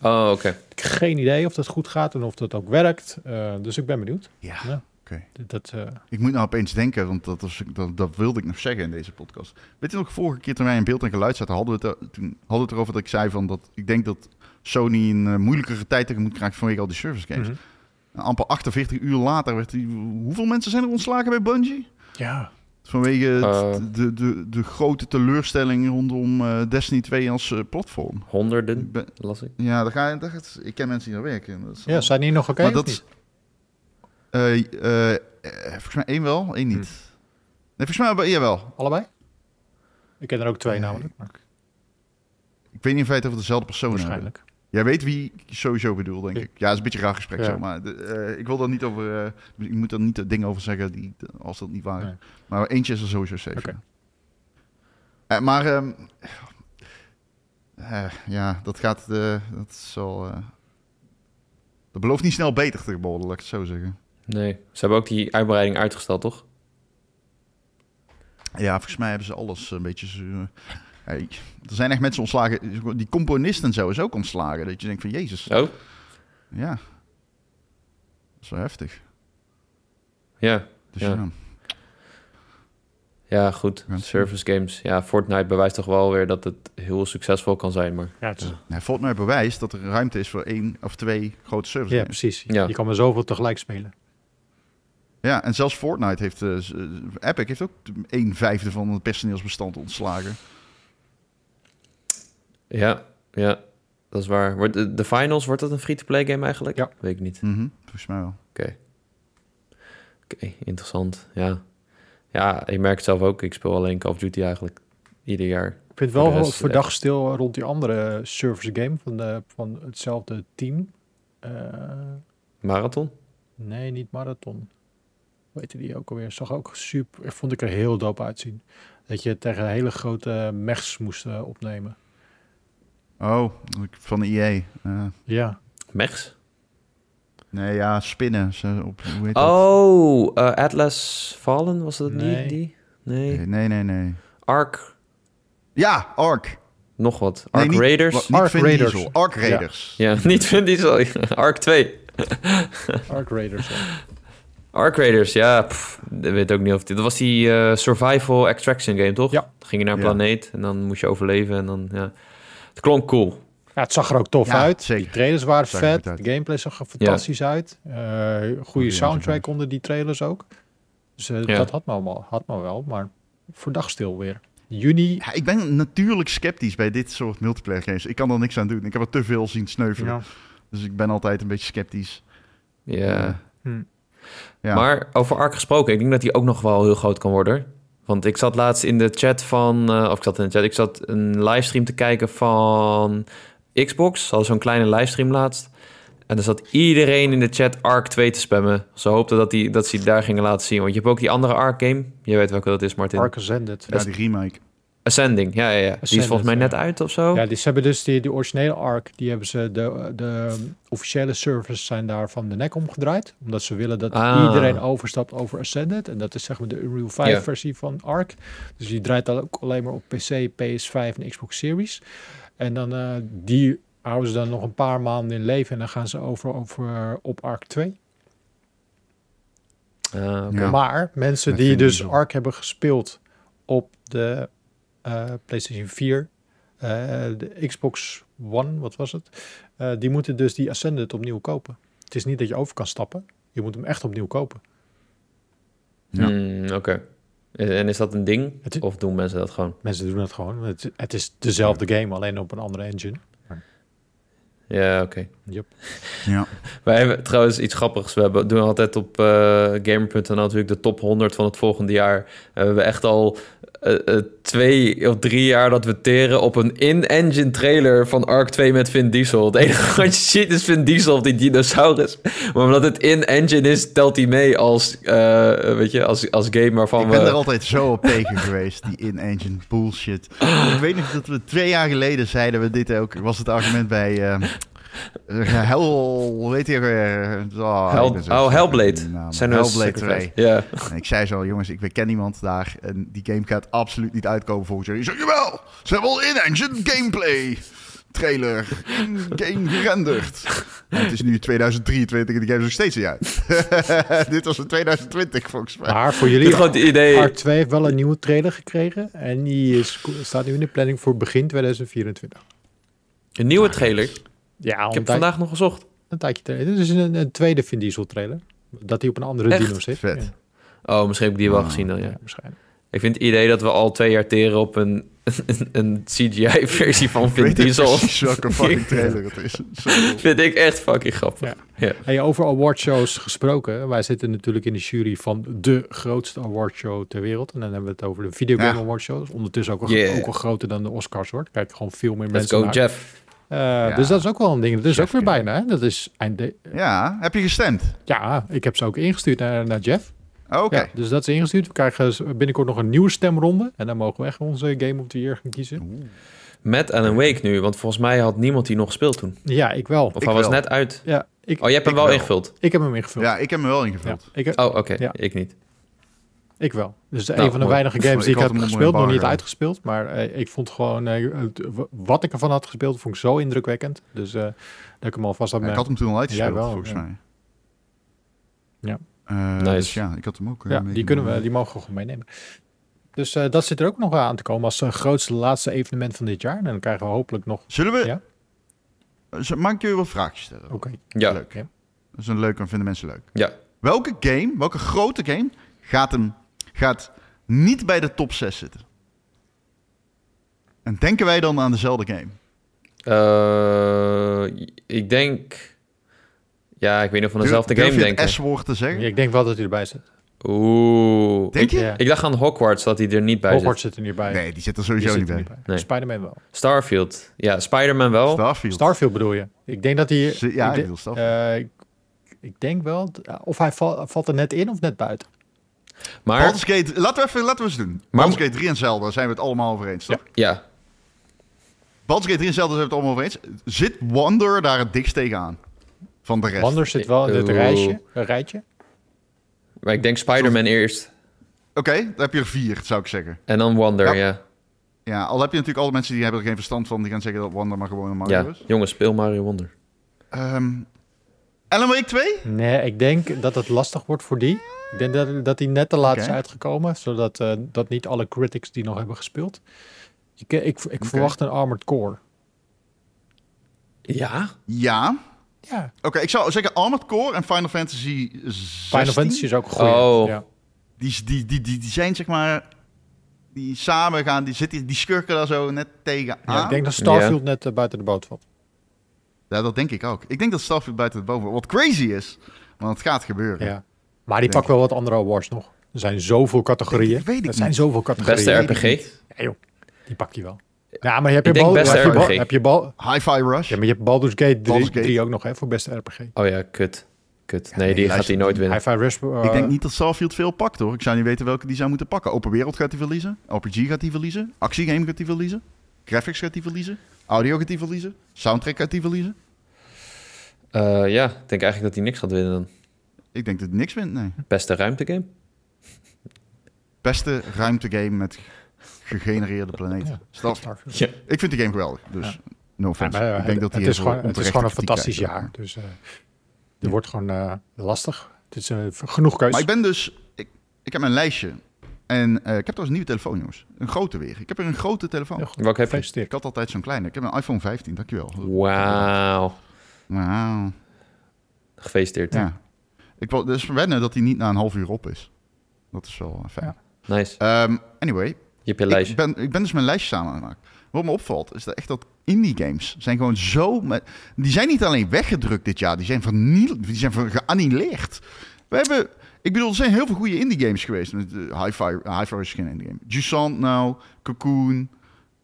Oh, oké.
ik heb geen idee of dat goed gaat en of dat ook werkt. Eh, dus ik ben benieuwd.
Ja,
Ja.
oké.
Dat- Dat, eh,
Ik moet nou opeens denken, want dat, was, dat, dat wilde ik nog zeggen in deze podcast. Weet je nog, vorige keer toen wij in beeld en geluid zaten, hadden we het, er- toen hadden we het erover dat ik zei van dat ik denk dat Sony een eh, moeilijkere tijd tegemoet krijgt vanwege al die service games.
mhm.
En amper 48 uur later werd die, hoeveel mensen zijn er ontslagen bij Bungie?
Ja,
Vanwege het-
Eh.
de, de, de grote teleurstelling rondom eh, Destiny 2 als eh, platform.
Honderden,
Ik ben-
las ik.
ja, daar ga, je- daar gaat, ik ken mensen die daar werken. Dat is-
ja zijn die nog oké?
maar
of
dat is.
niet?
eh, eh, eh, volgens mij één wel, één niet. Nee, volgens mij wel- jawel.
Allebei? Ik ken er ook twee
Nee,
namelijk. maar
Ik weet niet in feite of we dezelfde persoon hebben.
waarschijnlijk.
Jij weet wie ik sowieso bedoel, denk
Ik.
ik. Ja, het is een beetje een raar gesprek,
Ja.
zo, maar de- eh, ik wil daar niet over... eh, ik moet daar niet dingen over zeggen die, als dat niet waar is.
Nee.
Maar eentje is er sowieso safe.
Oké.
ja. Eh, maar ehm, eh, ja, dat gaat. eh, dat zal. eh, dat belooft niet snel beter te worden, laat ik het zo zeggen.
Nee, ze hebben ook die uitbreiding uitgesteld, toch?
Ja, volgens mij hebben ze alles een beetje. zo, eh, hey, er zijn echt mensen ontslagen. Die componisten en zo is ook ontslagen. Dat je denkt van Jezus.
Oh,
Ja. Dat is wel heftig.
ja.
Dus
Ja.
ja.
Ja, goed.
Ja.
Service games. Ja, Fortnite bewijst toch wel weer dat het heel succesvol kan zijn, maar...
Ja, het is-
Nou, Fortnite bewijst dat er ruimte is voor één of twee grote service
ja,
games.
precies.
Ja.
Je kan maar zoveel tegelijk spelen.
Ja, en zelfs Fortnite heeft... eh, z- eh, Epic heeft ook een vijfde van het personeelsbestand ontslagen.
Ja, ja, dat is waar. Wordt de, de finals, wordt dat een free-to-play game eigenlijk?
Ja.
Weet ik niet.
Mhm, volgens mij wel.
Oké, interessant. Ja. ja, ik merk het zelf ook. Ik speel alleen Call of Duty eigenlijk ieder jaar.
Ik vind
Voor de
wel
rest
wat voor
echt.
dag stil rond die andere service game van, de, van hetzelfde team. Eh,
Marathon?
nee, niet Marathon. Weet je die ook alweer? Zag ook super, vond ik er heel dope uitzien. Dat je tegen hele grote mechs moest eh, opnemen.
Oh, ik- van de EA. Eh,
Ja,
Mechs?
nee, ja, spinnen. Ze op, hoe heet dat?
Oh, eh, Atlas Fallen, was dat
Nee.
niet die?
Nee,
Nee.
nee, nee. nee.
Ark,
Ja, Ark.
nog wat.
Nee,
Ark
niet-
Raiders?
wa- niet
Ark
Vin
Raiders.
Diesel, Ark Raiders.
Ja, niet vind die zo. Ark 2.
Ark Raiders. ja.
Ark Raiders, ja. pff, ik weet ook niet of... dit- Dat was die eh, survival extraction game, toch?
Ja.
Ging je naar een
Ja.
planeet en dan moest je overleven en dan... Ja. Het klonk cool.
Ja, het zag er ook tof
Ja,
uit.
zeker.
Die trailers waren
Zag er
vet.
goed
De
uit.
gameplay zag er fantastisch uit. Eh goede soundtrack
Goeie soundtrack.
onder die trailers ook. Dus eh,
Ja.
dat had me, allemaal, had me wel, maar voor dag stil weer. Juni.
Ja, ik ben natuurlijk sceptisch bij dit soort multiplayer games. Ik kan er niks aan doen. Ik heb er te veel zien sneuvelen.
Ja.
Dus ik ben altijd een beetje sceptisch.
Ja.
Hm.
Ja.
Maar over Ark gesproken, ik denk dat die ook nog wel heel groot kan worden. Want ik zat laatst in de chat van... eh, of ik zat in de chat, ik zat een livestream te kijken van Xbox. Ze hadden zo'n kleine livestream laatst. En er zat iedereen in de chat Ark 2 te spammen. Ze hoopten dat, die, dat ze die daar gingen laten zien. Want je hebt ook die andere Ark game. Je weet welke dat is, Martin.
Ark Ascended.
ja, die remake.
Ascending, ja, ja, ja. die is
Ascended,
volgens mij net
ja.
uit of zo.
Ja, die, ze hebben dus die, die originele ARC, die hebben ze de, de officiële servers zijn daar van de nek omgedraaid. Omdat ze willen dat
Ah.
iedereen overstapt over Ascended. En dat is zeg maar de Unreal 5
Ja.
versie van ARC. Dus die draait dan ook alleen maar op PC, PS5 en Xbox Series. En dan eh, die houden ze dan nog een paar maanden in leven en dan gaan ze over, over op ARC 2.
Ah, oké.
Ja.
Maar mensen
Dat
die
vind ik
dus
zo.
ARC hebben gespeeld op de eh, PlayStation 4, eh, de Xbox One, wat was het? Eh, die moeten dus die Ascended opnieuw kopen. Het is niet dat je over kan stappen. Je moet hem echt opnieuw kopen.
Ja.
Hmm, Oké. En is dat een ding?
Het is-
Of doen mensen dat gewoon?
Mensen doen het gewoon. Het, het is dezelfde game, alleen op een andere engine.
Ja, oké.
Yep.
Ja.
Wij hebben trouwens iets grappigs. We hebben, doen altijd op eh, gamer.nl natuurlijk de top 100 van het volgende jaar. Eh, We hebben echt al eh, eh, twee of drie jaar dat we teren op een in-engine trailer van Ark 2 met Vin Diesel. Het enige wat je ziet is Vin Diesel of die dinosaurus. Maar omdat het in-engine is, telt hij mee als, eh, weet je, als, als eh, game waarvan
Ik
we...
ben er altijd zo op tegen geweest, die in-engine bullshit. Ik weet nog dat we twee jaar geleden zeiden we dit ook. Was het argument bij ehm eh, Hell, weet je ook weer? Oh,
Hel-
ik ben zo
oh,
slecht
Hellblade.
met die namen.
Senua's
Hellblade
Sacrifice.
2.
Ja.
En ik zei zo, jongens, ik ben- ken niemand daar. En die game gaat absoluut niet uitkomen volgens jullie. Ik zeg, jawel, ze hebben al in-engine gameplay. Trailer, in-game gerenderd. En het is nu 2023 en de game is nog steeds niet uit. Dit was in 2020 volgens mij.
Maar voor
Dit is
jullie,
gewoon het idee...
ARC 2 heeft wel een nieuwe trailer gekregen. En die is, staat nu in de planning voor begin 2024.
Een nieuwe trailer. Ik
Ja, al
heb
een, tijd,
vandaag nog gezocht.
een tijdje trailer. Dit is een, een tweede Vin Diesel trailer. Dat hij op een andere
Echt?
dino zit.
Vet.
Oh, misschien heb ik die wel
Ah.
gezien dan,
Ja,
ja.
ja, waarschijnlijk.
Ik vind het idee dat we al twee jaar teren op een, een, CGI-versie van
Ik
Vin
weet niet
Diesel.
precies welke fucking trailer het is. Zo.
vind ik echt fucking grappig.
Hey, over awardshows gesproken. Wij zitten natuurlijk in de jury van de grootste awardshow ter wereld. En dan hebben we het over de Video Game
Ja.
Awardshow. Ondertussen ook, wel-
Yeah.
ook al groter dan de Oscars hoor. Kijk gewoon veel meer
Let's
mensen
go,
naar.
Jeff.
Eh,
Ja.
Dus dat is ook wel een ding. Dat is ook
Jeff
weer
King.
bijna. Hè? Dat is eind de-
Ja, heb je gestemd? Oh,
Ja, ik heb ze ook ingestuurd naar, naar Jeff.
Oké.
Ja, dus dat is ingestuurd. We krijgen z- binnenkort nog een nieuwe stemronde. En dan mogen we echt onze Game of the Year gaan kiezen.
Met Alan Wake nu, want volgens mij had niemand die nog gespeeld toen.
Ja, ik wel.
Of
Ik
hij was
wel.
net uit.
Ja, ik,
Oh, jij hebt hem
Ik
wel
wel.
ingevuld.
ik heb hem ingevuld.
Ja, ik heb hem wel
Ja,
ingevuld.
ik,
Oh, oké.
Ja.
Ik niet.
ik wel. Dus
Nou,
een van de
mooi.
weinige games die
Ik
ik,
had
heb
hem onder
gespeeld, nog niet
embargo.
uitgespeeld. Maar eh, ik vond gewoon, eh, het- w- wat ik ervan had gespeeld, vond ik zo indrukwekkend. Dus eh, dat ik hem alvast had.
Ja, ik
mijn-
had hem toen al uitgespeeld,
Jij wel,
volgens
ja.
mij.
Ja.
Eh,
Nice.
Dus ja, ik had hem ook. eh,
Ja, die
meegenomen.
kunnen we, die mogen we gewoon meenemen. Dus eh, dat zit er ook nog aan te komen als eh, grootste laatste evenement van dit jaar. En dan krijgen we hopelijk nog.
Zullen we...
Ja.
Eh, z- Mag ik jullie wat vraagjes stellen?
Oké.
Ja.
Leuk.
Ja.
Dat is een leuk, en vinden mensen leuk.
Ja.
Welke game, welke grote game, gaat, hem, gaat niet bij de top 6 zitten? En denken wij dan aan dezelfde game?
Eh, ik denk... Ja, ik weet niet of we aan dezelfde
Durf-
game
durf je
denken.
het S-woord te zeggen?
Ja, ik denk wel dat hij erbij zit.
Oeh.
Denk je?
Ja.
Ik dacht aan Hogwarts, dat hij er niet bij
Hogwarts zit er niet bij.
Nee, die zit
Die
er sowieso
zit
niet
er
bij.
Nee.
Spider-Man wel.
zit. Starfield. Ja, Spider-Man wel.
Starfield.
Starfield bedoel je? Ik denk dat hij.
Ze- ja,
ik,
ik
de-
wil Starfield.
eh, ik, ik denk wel. d- ja, Of hij val- valt er net in of net buiten.
maar,
Baldur's Gate, laten we even, laten we eens doen. Baldur's Gate 3 en Zelda zijn we het allemaal over eens, toch?
ja.
Baldur's Gate 3 en Zelda zijn we het allemaal over eens. Zit Wonder daar het dikst tegenaan? Van de rest.
Wander zit wel in het
Oeh.
rijtje. Een rijtje.
Maar ik denk Spider-Man eerst.
Oké, dan heb je er vier, zou ik zeggen.
En dan Wonder,
Ja.
ja.
Ja, al heb je natuurlijk alle mensen die hebben er geen verstand van, die gaan zeggen dat Wonder maar gewoon een Mario
Ja,
is.
jongens, speel Mario Wonder.
Ehm Alan Wake 2?
Nee, ik denk dat het lastig wordt voor die. Ik denk dat, dat die net te laat is
Oké.
uitgekomen, zodat eh, dat niet alle critics die nog hebben gespeeld. Ik, eh, ik, ik verwacht een Armored Core.
Ja?
Ja. Oké,
Ja,
ik zou zeggen Armored Core en Final Fantasy 16.
Final Fantasy is ook een goeie.
Oh.
Ja.
Ah. Die, die, die, die, die zijn zeg maar... Die samen gaan, die, zitten, die schurken daar zo net tegenaan.
Ja, ik denk dat Starfield net eh, buiten de boot valt.
Ja, dat denk ik ook. Ik denk dat Starfield buiten het boven... Wat crazy is, want het gaat gebeuren.
Ja. Maar die pakt wel wat andere awards nog. Er zijn zoveel categorieën.
Ik weet het
er zijn
niet.
zoveel
Beste
categorieën.
Weet ik
RPG.
Ja, joh. Die pak je wel. Ja, maar je hebt je
Ik denk
bal.
beste
heb je bal,
RPG.
heb je bal
Hi-Fi Rush.
ja, maar je hebt Baldur's Gate 3,
Baldur's Gate.
3 ook nog hè, voor beste RPG.
Oh ja, kut. Kut. Nee,
nee,
die gaat
luister,
hij nooit winnen.
Hi-Fi Rush. eh,
Ik denk niet dat Starfield veel pakt, hoor. Ik zou niet weten welke die zou moeten pakken. Open wereld gaat hij verliezen. RPG gaat hij verliezen. Actiegame gaat hij verliezen. Graphics gaat hij verliezen. Audio gaat hij verliezen. Soundtrack gaat hij verliezen.
Eh, ja, ik denk eigenlijk dat hij niks gaat winnen dan.
Ik denk dat het niks wint, nee.
Beste ruimtegame?
Beste ruimtegame met gegenereerde planeten.
Ja.
Starfield.
Starfield.
Ja.
Ik vind de game geweldig, dus
Ja,
no offense.
maar, eh,
ik denk dat
het,
die
is
heel
gewoon, het is
onterechte
gewoon een
kritiek
fantastisch
krijgt,
jaar. Dus eh het wordt gewoon eh, lastig. Het is eh, v- genoeg
Maar
keus.
ik ben dus... Ik, ik heb mijn lijstje. En eh, ik heb trouwens een nieuwe telefoon, jongens. Een grote weer. Ik heb weer een grote telefoon.
Heel goed.
Welke heb je?
Ik
Gefeliciteerd.
had altijd zo'n kleine. Ik heb een iPhone 15, dankjewel.
Wauw.
Wauw.
Gefeliciteerd.
Ja. Ik wil dus wennen dat hij niet na een half uur op is. Dat is wel eh, fijn.
Nice.
Ehm, anyway,
Je hebt je lijstje.
ik ben, ik ben dus mijn lijstje samen aan het maken. Wat me opvalt is dat echt dat indie games zijn gewoon zo... met- die zijn niet alleen weggedrukt dit jaar, die zijn, verniel, die zijn ver- geannileerd. We hebben... Ik bedoel, er zijn heel veel goede indie games geweest. Met, eh, Hi-Fi Hi-Fi is geen indie game. Jusant nou, Cocoon,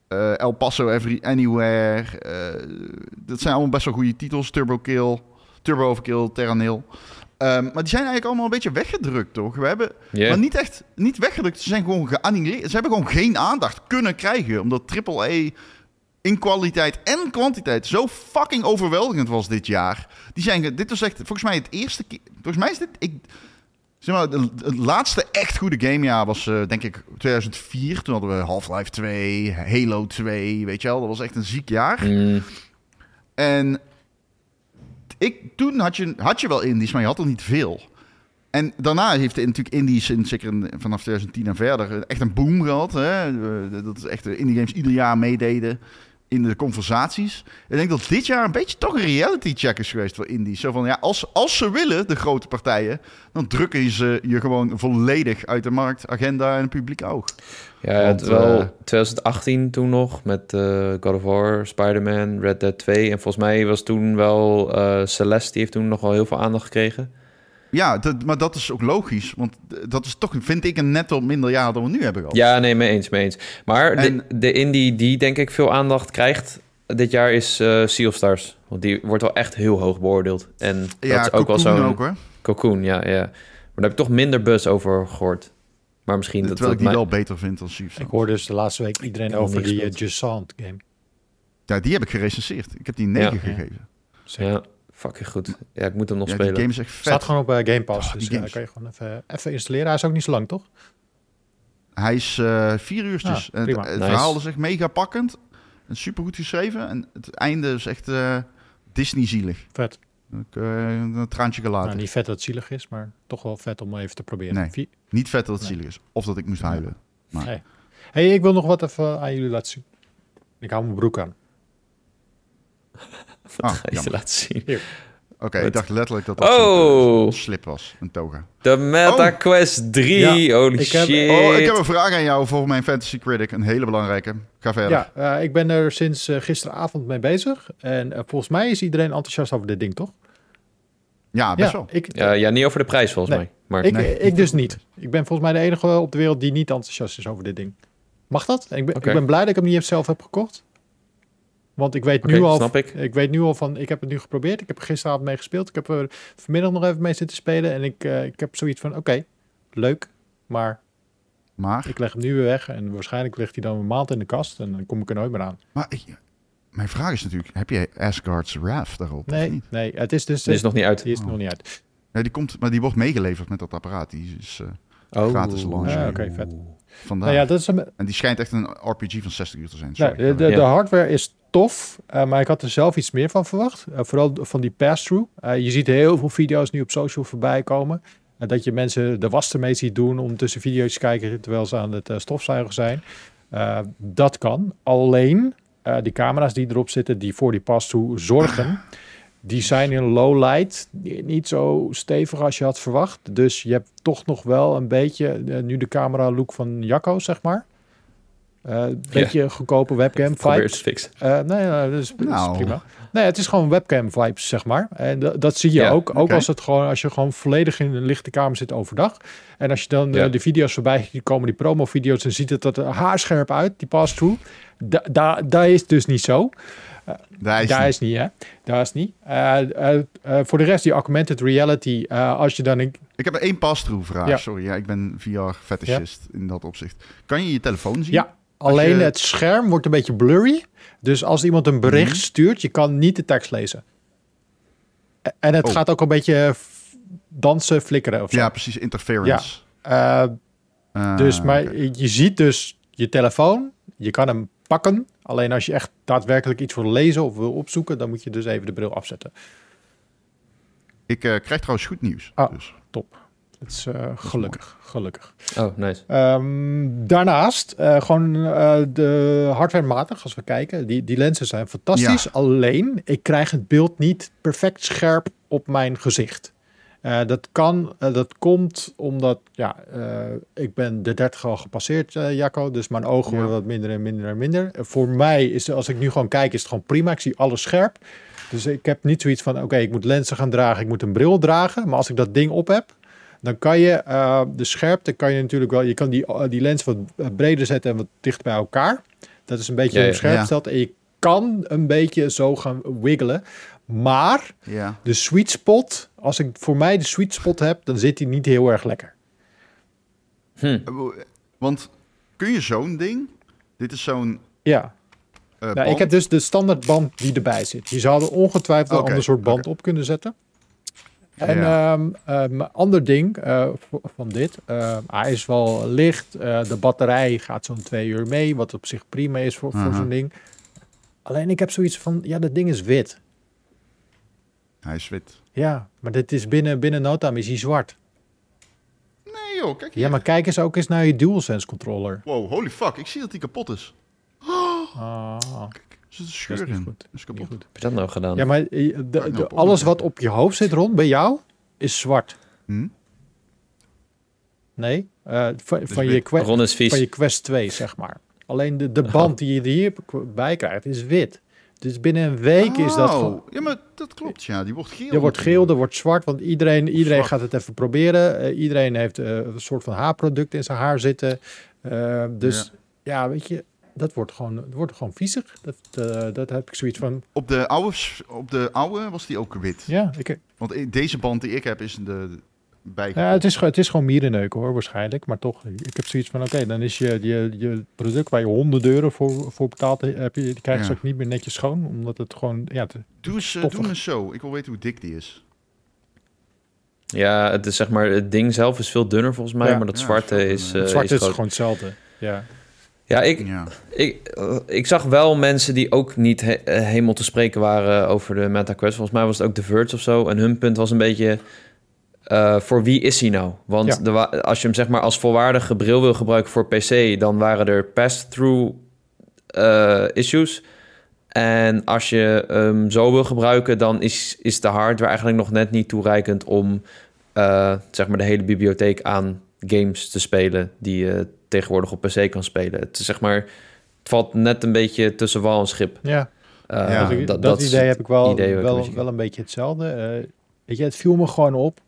eh, El Paso Every Anywhere. eh, dat zijn allemaal best wel goede titels. Turbo Kill, Turbo Overkill, Terra Nil. Ehm, maar die zijn eigenlijk allemaal een beetje weggedrukt, toch? We hebben
Ja.
maar niet echt, niet weggedrukt. Ze zijn gewoon geannileerd. Ze hebben gewoon geen aandacht kunnen krijgen. Omdat AAA in kwaliteit en kwantiteit zo fucking overweldigend was dit jaar. Die zijn, ge- dit was echt, volgens mij het eerste keer. Volgens mij is dit, ik, zeg maar, de- het laatste echt goede gamejaar was, eh, denk ik, 2004. Toen hadden we Half-Life 2, Halo 2, weet je wel. Dat was echt een ziek jaar.
Mm,
En ik, toen had je, had je wel indies, maar je had er niet veel. En daarna heeft de- natuurlijk indies, in, zeker in- vanaf 2010 en verder, eh, echt een boom gehad. Hè? Eh, Dat is echt de indie games ieder jaar meededen in de conversaties. Ik denk dat dit jaar een beetje toch een reality check is geweest voor indies. Zo van, ja, als, als ze willen, de grote partijen, dan drukken ze je gewoon volledig uit de markt, agenda en publiek oog.
ja, het
Want,
wel
eh,
2018 toen nog met eh, God of War, Spider-Man, Red Dead 2. En volgens mij was toen wel eh, Celeste, die heeft toen nog wel heel veel aandacht gekregen.
Ja, dat, maar dat is ook logisch, want eh, dat is toch, vind ik, een net wat minder jaar dan we nu hebben gehad.
Ja, nee, mee eens, mee eens. Maar
En-
de, de indie die denk ik veel aandacht krijgt dit jaar is eh, Sea of Stars. Want die wordt wel echt heel hoog beoordeeld. En dat is ook wel
Cocoon
zo'n...
ook, hoor.
Cocoon, ja, ja. daar heb ik toch minder buzz over gehoord. Maar misschien dat,
Terwijl ik
dat
die
mij-
wel beter vind dan Chief
Ik
Sons.
hoor dus de laatste week iedereen
heb nog
over
niet
die uh,
gespeeld.
Jusant game.
Ja, die heb ik gerecenseerd. Ik heb die 9
Ja.
gegeven.
Ja, fucking goed. Ja, ik moet hem nog
Ja, die
spelen.
game is echt
Staat
vet.
gewoon op eh, Game Pass,
Oh, die
dus ja,
games.
kan je gewoon even, eh, even installeren. Hij is ook niet zo lang, toch?
Hij is eh, vier uurtjes.
Ja,
En het
prima.
het
Nice.
verhaal is echt mega pakkend. En supergoed geschreven. En het einde is echt eh, Disney-zielig.
Vet.
Ik, eh, een traantje gelaten.
Nou,
niet...
niet vet dat het zielig is, maar toch wel vet om even te proberen.
Nee.
Vi-
vet dat het
Nee.
zielig is. Of dat ik moest huilen. Maar
Hey. hey, ik wil nog wat even aan jullie laten zien. Ik hou mijn broek aan.
Ga
Ah,
je ze
jammer.
laten zien.
Oké,
Wat?
ik dacht letterlijk dat dat
Oh.
een slip was. Een toga.
De Meta Quest 3.
Ja,
Holy
ik heb-
shit.
Oh, ik heb een vraag aan jou voor mijn Fantasy Critic. Een hele belangrijke. Ga verder.
Ja, eh, ik ben er sinds eh, gisteravond mee bezig. En eh, volgens mij is iedereen enthousiast over dit ding, toch?
Ja, Ah, best
ja,
wel.
Ik,
ja, ja, niet over de prijs volgens
Nee.
mij. Maar
ik,
Nee.
ik dus niet. Ik ben volgens mij de enige op de wereld die niet enthousiast is over dit ding. Mag dat? Ik ben,
Oké.
ik ben blij dat ik hem niet zelf heb gekocht. Want ik weet,
Oké,
nu al,
snap ik.
weet nu al van, ik heb het nu geprobeerd. Ik heb er gisteravond mee gespeeld. Ik heb er vanmiddag nog even mee zitten spelen. En ik, eh, ik heb zoiets van, oké, leuk. Maar
Maar,
ik leg hem nu weer weg. En waarschijnlijk ligt hij dan een maand in de kast. En dan kom ik er nooit meer aan.
maar ik- mijn vraag is natuurlijk, heb jij Asgard's Wrath daarop of
Nee,
niet?
nee het is dus...
die is nog niet uit.
die is
Oh.
nog niet uit.
Ja, die komt, maar die wordt meegeleverd met dat apparaat. Die is eh,
Oh.
gratis launch.
Ja, Ah, oké, vet.
vandaag.
Nou ja, dat is een,
En die schijnt echt een RPG van 60 uur te zijn.
Nou,
Sorry.
de, de,
Ja.
de hardware is tof, eh, maar ik had er zelf iets meer van verwacht. Eh, vooral van die pass-through. Eh, je ziet heel veel video's nu op social voorbij komen. en dat je mensen de was ermee ziet doen om tussen video's te kijken terwijl ze aan het eh, stofzuigen zijn. Eh, dat kan. Alleen eh, die camera's die erop zitten, die voor die pass-through zorgen, die zijn in low light niet zo stevig als je had verwacht. Dus je hebt toch nog wel een beetje eh, nu de camera look van Jacco, zeg maar. Eh, Een beetje goedkope webcam
Probeer het
vibes.
te fixen.
Eh, nee, nou, dat is, dat is
Nou.
prima. Nee, het is gewoon webcam vibes, zeg maar. En da- dat zie je
Ja,
ook. Ook
oké.
als, het gewoon, als je gewoon volledig in een lichte kamer zit overdag. En als je dan eh,
Ja.
de video's voorbij ziet komen, die promo-video's, dan ziet het dat er haarscherp uit, die pass-through. Da- da- Daar is het dus niet zo.
Daar is
Daar
die.
is niet, hè? Daar is niet. Eh, eh, eh, voor de rest, die augmented reality, eh, als je dan een
Ik heb één pass-through vraag.
Ja.
Sorry, ja, ik ben VR-fetishist in dat opzicht. Kan je je telefoon zien?
Ja,
Als
alleen
je-
het scherm wordt een beetje blurry. Dus als iemand een bericht
Mhm.
stuurt, je kan niet de tekst lezen. E- En het
Oh.
gaat ook een beetje f- dansen, flikkeren of zo.
Ja, precies. Interference.
Eh,
Eh,
dus maar
oké.
je ziet dus je telefoon, je kan hem pakken. Alleen als je echt daadwerkelijk iets wil lezen of wil opzoeken, dan moet je dus even de bril afzetten.
Ik eh, krijg trouwens goed nieuws.
Ah.
Dus.
Top. Het is eh, gelukkig, gelukkig.
Oh, nice.
Ehm, daarnaast, eh, gewoon eh, de hardwarematig, als we kijken, die, die lenzen zijn fantastisch.
Ja.
Alleen, ik krijg het beeld niet perfect scherp op mijn gezicht. Eh, dat kan, eh, dat komt omdat, ja, eh, ik ben de 30 al gepasseerd, eh, Jacco. Dus mijn ogen
Ja.
worden wat minder en minder en minder. Eh, voor mij is, als ik nu gewoon kijk, is het gewoon prima. Ik zie alles scherp. Dus ik heb niet zoiets van, oké, ik moet lenzen gaan dragen, ik moet een bril dragen. Maar als ik dat ding op heb, dan kan je eh, de scherpte, kan je natuurlijk wel, je kan die, eh, die lens wat eh, breder zetten en wat dichter bij elkaar. Dat is een beetje
Ja, ja.
hoe scherp
Ja.
stelt. En je kan een beetje zo gaan wiggelen. Maar
Ja.
de sweet spot, als ik voor mij de sweet spot heb, dan zit die niet heel erg lekker.
Hm.
Eh, Want kun je zo'n ding... Dit is zo'n...
Ja,
eh,
nou, ik
band.
heb dus de standaardband die erbij zit. Je zou er ongetwijfeld een
Oké,
ander soort band
oké.
op kunnen zetten. En
Ja.
ehm, ehm, ander ding eh, v- van dit, ehm, hij is wel licht, eh, de batterij gaat zo'n twee uur mee, wat op zich prima is voor, voor
Aha.
zo'n ding. Alleen ik heb zoiets van, ja, dat ding is wit.
Hij is wit.
Ja, maar dit is binnen, binnen no time is hij zwart.
Nee joh, kijk hier.
Ja, maar kijk eens ook eens naar je DualSense controller.
Wow, holy fuck. Ik zie dat die kapot is.
Ah.
Kijk, er zit een
Dat
scheur
is niet
in.
goed.
Dat is kapot.
Niet goed.
Heb je dat nou gedaan?
Ja, maar eh, de-
nou
de-
op
alles wat
onderwerpen.
op je hoofd zit rond bij jou is zwart.
Hm?
Nee, eh, van, van,
wit.
je que-
Ron is vies.
van je Quest 2, zeg maar. Alleen de,
Oh.
de band die je er hierbij krijgt is wit. Dus binnen een week is dat
Oh,
gewoon...
Ja, maar dat klopt, ja. Die wordt geel.
Er wordt geel, er wordt zwart, want iedereen, iedereen
Zwart.
gaat het even proberen. Eh, iedereen heeft eh, een soort van haarproduct in zijn haar zitten. Eh, dus ja. weet je, dat wordt gewoon, het wordt gewoon viezig. Dat, eh, dat heb ik zoiets van.
Op de, oude, s- op de oude was die ook wit.
Ja, ik,
Want i- deze band die ik heb is de bij.
Ja, het, is, ge- het is gewoon mierenneuk hoor, waarschijnlijk. Maar toch, ik heb zoiets van, oké, dan is je, je, je product waar je honderden euro voor, voor betaald hebt, je, die krijg je
Ja.
straks niet meer netjes schoon. Omdat het gewoon, ja, het-
Doe eens, eh,
Stoffig.
doe eens zo. Ik wil weten hoe dik die is.
Ja, het is zeg maar, het ding zelf is veel dunner volgens mij,
Ja.
maar dat
Ja,
zwarte
dat
is.
is wel
eh,
het zwarte is
groot.
gewoon hetzelfde. Ja.
Ja, ik,
Ja.
ik, eh, ik zag wel mensen die ook niet he- eh, helemaal te spreken waren over de MetaQuest. Volgens mij was het ook The Verge of zo. En hun punt was een beetje... eh, voor wie is hij nou? Want
Ja.
de wa- als je hem zeg maar als volwaardige bril wil gebruiken voor PC... dan waren er pass-through eh, issues. En als je hem zo wil gebruiken... dan is, is de hardware eigenlijk nog net niet toereikend... om eh, zeg maar de hele bibliotheek aan games te spelen... die je tegenwoordig op PC kan spelen. Het is zeg maar... Het valt net een beetje tussen wal en schip.
Ja,
Eh,
Ja,
dat, ik- dat,
is
idee heb ik wel,
idee wat ik een
wel,
beetje-
wel een beetje hetzelfde. Eh, weet je, het viel me gewoon op.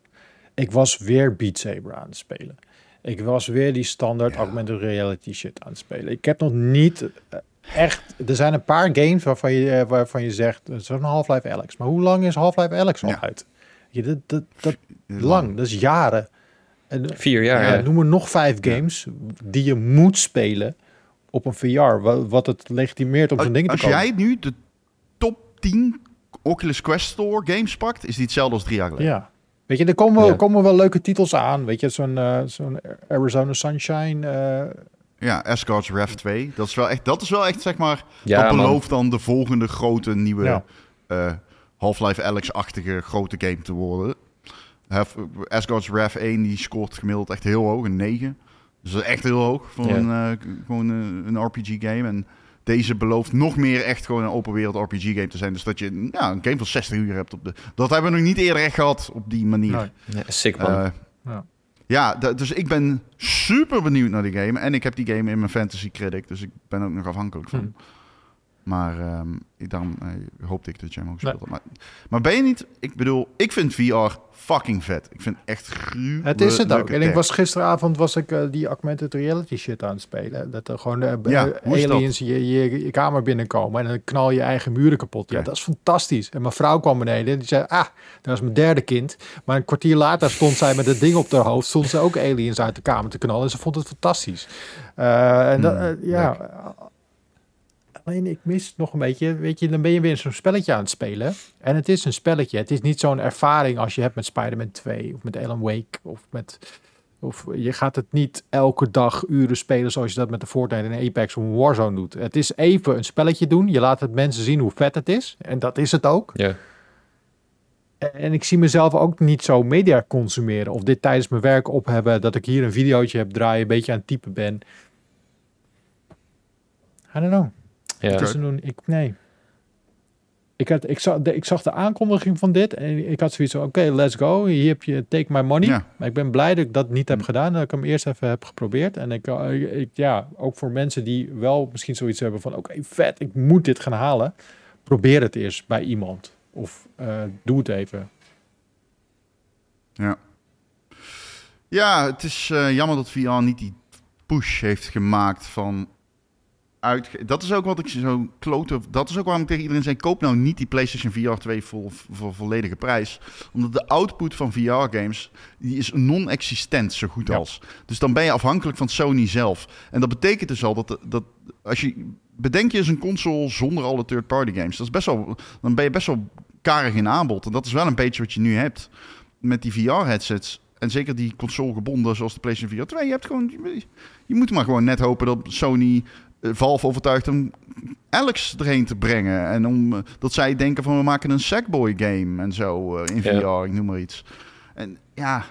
Ik was weer Beat Saber aan het spelen. Ik was weer die standaard
Ja.
augmented reality shit aan het spelen. Ik heb nog niet eh, echt... Er zijn een paar games waarvan je, eh, waarvan je zegt... eh, Zo'n Half-Life Alex. Maar hoe lang is Half-Life Alex al
Ja.
uit? Weet Je, dat, dat, dat, lang, dat is jaren. En, eh,
Vier jaar.
ja,
Ja,
noem er nog vijf
Ja.
games die je moet spelen op een VR. wa- Wat het legitimeert om
Als,
zo'n ding te
als
komen.
jij nu de top 10 Oculus Quest Store games pakt, is die hetzelfde als drie jaar geleden.
Ja. Weet je, er komen wel,
Ja.
komen wel leuke titels aan. Weet je, zo'n eh, zo'n Arizona Sunshine. eh,
Ja, Asgard's Raft 2. Dat is wel echt, dat is wel echt zeg maar,
Ja,
dat
man.
belooft dan de volgende grote nieuwe
Ja.
eh, Half-Life Alex-achtige grote game te worden. Hef- Asgard's Raft 1 die scoort gemiddeld echt heel hoog, een 9. Dus dat is echt heel hoog voor
Ja.
een, eh, k- gewoon eh, een RPG-game. En deze belooft nog meer echt gewoon een open wereld RPG-game te zijn. Dus dat je ja, een game van 60 uur hebt. Op de... Dat hebben we nog niet eerder echt gehad op die manier.
Nee.
Nee, sick man.
Eh,
Ja.
ja, d- dus ik ben super benieuwd naar die game. En ik heb die game in mijn fantasy credit, dus ik ben ook nog afhankelijk van. Maar ehm, ik, daarom eh, hoopte ik dat jij hem ook speelde. Maar, maar ben je niet... Ik bedoel, ik vind VR fucking vet. Ik vind echt gruwelijk.
het is het ook. En ik was gisteravond was ik eh, die augmented reality shit aan het spelen. Dat er gewoon eh, b-
Ja,
eh,
hoe is dat?
aliens je, je, je kamer binnenkomen en dan knal je eigen muren kapot. Ja,
Oké.
dat is fantastisch. En mijn vrouw kwam beneden en die zei, ah, dat is mijn derde kind. Maar een kwartier later stond zij met dat ding op haar hoofd. Stond ze ook aliens uit de kamer te knallen en ze vond het fantastisch. Eh, en dat,
Hmm,
eh, ja, alleen ik mis nog een beetje, weet je, dan ben je weer zo'n spelletje aan het spelen. En het is een spelletje. Het is niet zo'n ervaring als je hebt met Spider-Man 2 of met Alan Wake of met... Of je gaat het niet elke dag uren spelen zoals je dat met de Fortnite en Apex of Warzone doet. Het is even een spelletje doen. Je laat het mensen zien hoe vet het is. En dat is het ook.
ja.
En ik zie mezelf ook niet zo media consumeren. Of dit tijdens mijn werk op hebben. Dat ik hier een videootje heb draaien. Een beetje aan het typen ben. I don't know.
Ja.
Het is er nog niet- ik, nee. Ik, had, ik, zag de, ik zag de aankondiging van dit. En ik had zoiets van, oké, let's go. Hier heb je take my money.
Ja.
Maar ik ben blij dat ik dat niet heb
Hm.
gedaan. Dat ik hem eerst even heb geprobeerd. En ik, eh, ik- ja, ook voor mensen die wel misschien zoiets hebben van... oké, vet, ik moet dit gaan halen. Probeer het eerst bij iemand. Of eh, doe het even.
Ja, het is eh, jammer dat VR niet die push heeft gemaakt van... Uit, dat is ook wat ik zo klote... Dat is ook waarom ik tegen iedereen zei... koop nou niet die PlayStation VR 2 voor, voor volledige prijs. Omdat de output van VR-games... die is non-existent, zo goed
Ja.
als. Dus dan ben je afhankelijk van Sony zelf. En dat betekent dus al dat... dat als je, bedenk je eens een console zonder alle third-party games. Dat is best wel, dan ben je best wel karig in aanbod. En dat is wel een beetje wat je nu hebt met die VR-headsets. En zeker die consolegebonden zoals de PlayStation VR 2. Je, hebt gewoon, je, je moet maar gewoon net hopen dat Sony eh, Valve overtuigt om Alex erheen te brengen. En om, eh, dat zij denken van we maken een Sackboy-game en zo eh, in
Ja.
VR, ik noem maar iets. En ja,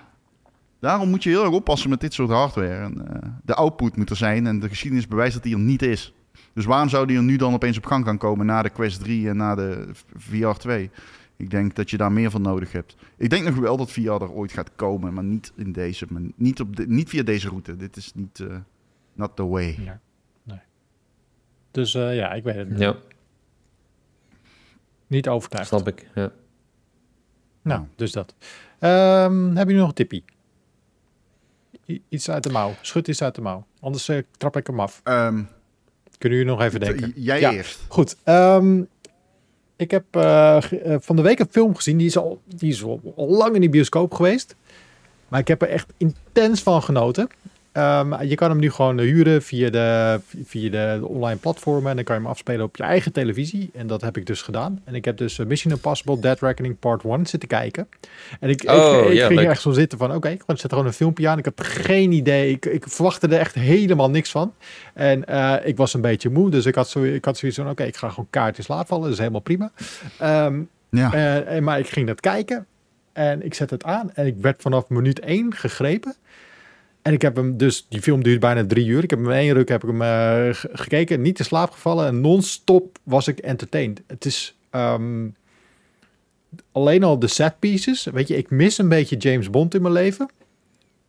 daarom moet je heel erg oppassen met dit soort hardware. En, eh, de output moet er zijn en de geschiedenis bewijst dat die er niet is. Dus waarom zou die er nu dan opeens op gang gaan komen na de Quest 3 en na de VR 2? Ik denk dat je daar meer van nodig hebt. Ik denk nog wel dat VR er ooit gaat komen, maar niet in deze, maar niet, op de, niet via deze route. Dit is niet eh, not the way.
Ja. Nee. Dus eh, ja, ik weet het niet.
ja,
Niet overtuigd.
snap ik. Ja.
Nou, dus dat. Ehm, heb je nu nog een tippie? I- iets uit de mouw. Schud iets uit de mouw. Anders eh, trap ik hem af.
Ehm,
Kunnen jullie nog even denken?
j- jij
Ja.
eerst.
Goed. ehm, ik heb eh, ge- eh, van de week een film gezien. Die is, al, die is al lang in de bioscoop geweest. Maar ik heb er echt intens van genoten. Ehm, je kan hem nu gewoon huren via de, via de online platformen. En dan kan je hem afspelen op je eigen televisie. En dat heb ik dus gedaan. En ik heb dus eh, Mission Impossible Dead Reckoning Part 1 zitten kijken. En ik, ik-
Oh,
ik,
ja,
ging
leuk.
er echt zo zitten van... Oké, ik zet gewoon een filmpje aan. Ik heb geen idee. Ik, ik verwachtte er echt helemaal niks van. En eh, ik was een beetje moe. Dus ik had, zo, ik had zoiets van... Oké, ik ga gewoon kaartjes laten vallen. Dat is helemaal prima. Ehm,
Ja.
eh, en- maar ik ging dat kijken. En ik zet het aan. En ik werd vanaf minuut 1 gegrepen. En ik heb hem dus, die film duurt bijna drie uur. Ik heb hem in één ruk heb ik hem, eh, ge- gekeken. Niet in slaap gevallen. En non-stop was ik entertained. Het is ehm, alleen al de set pieces. Weet je, ik mis een beetje James Bond in mijn leven.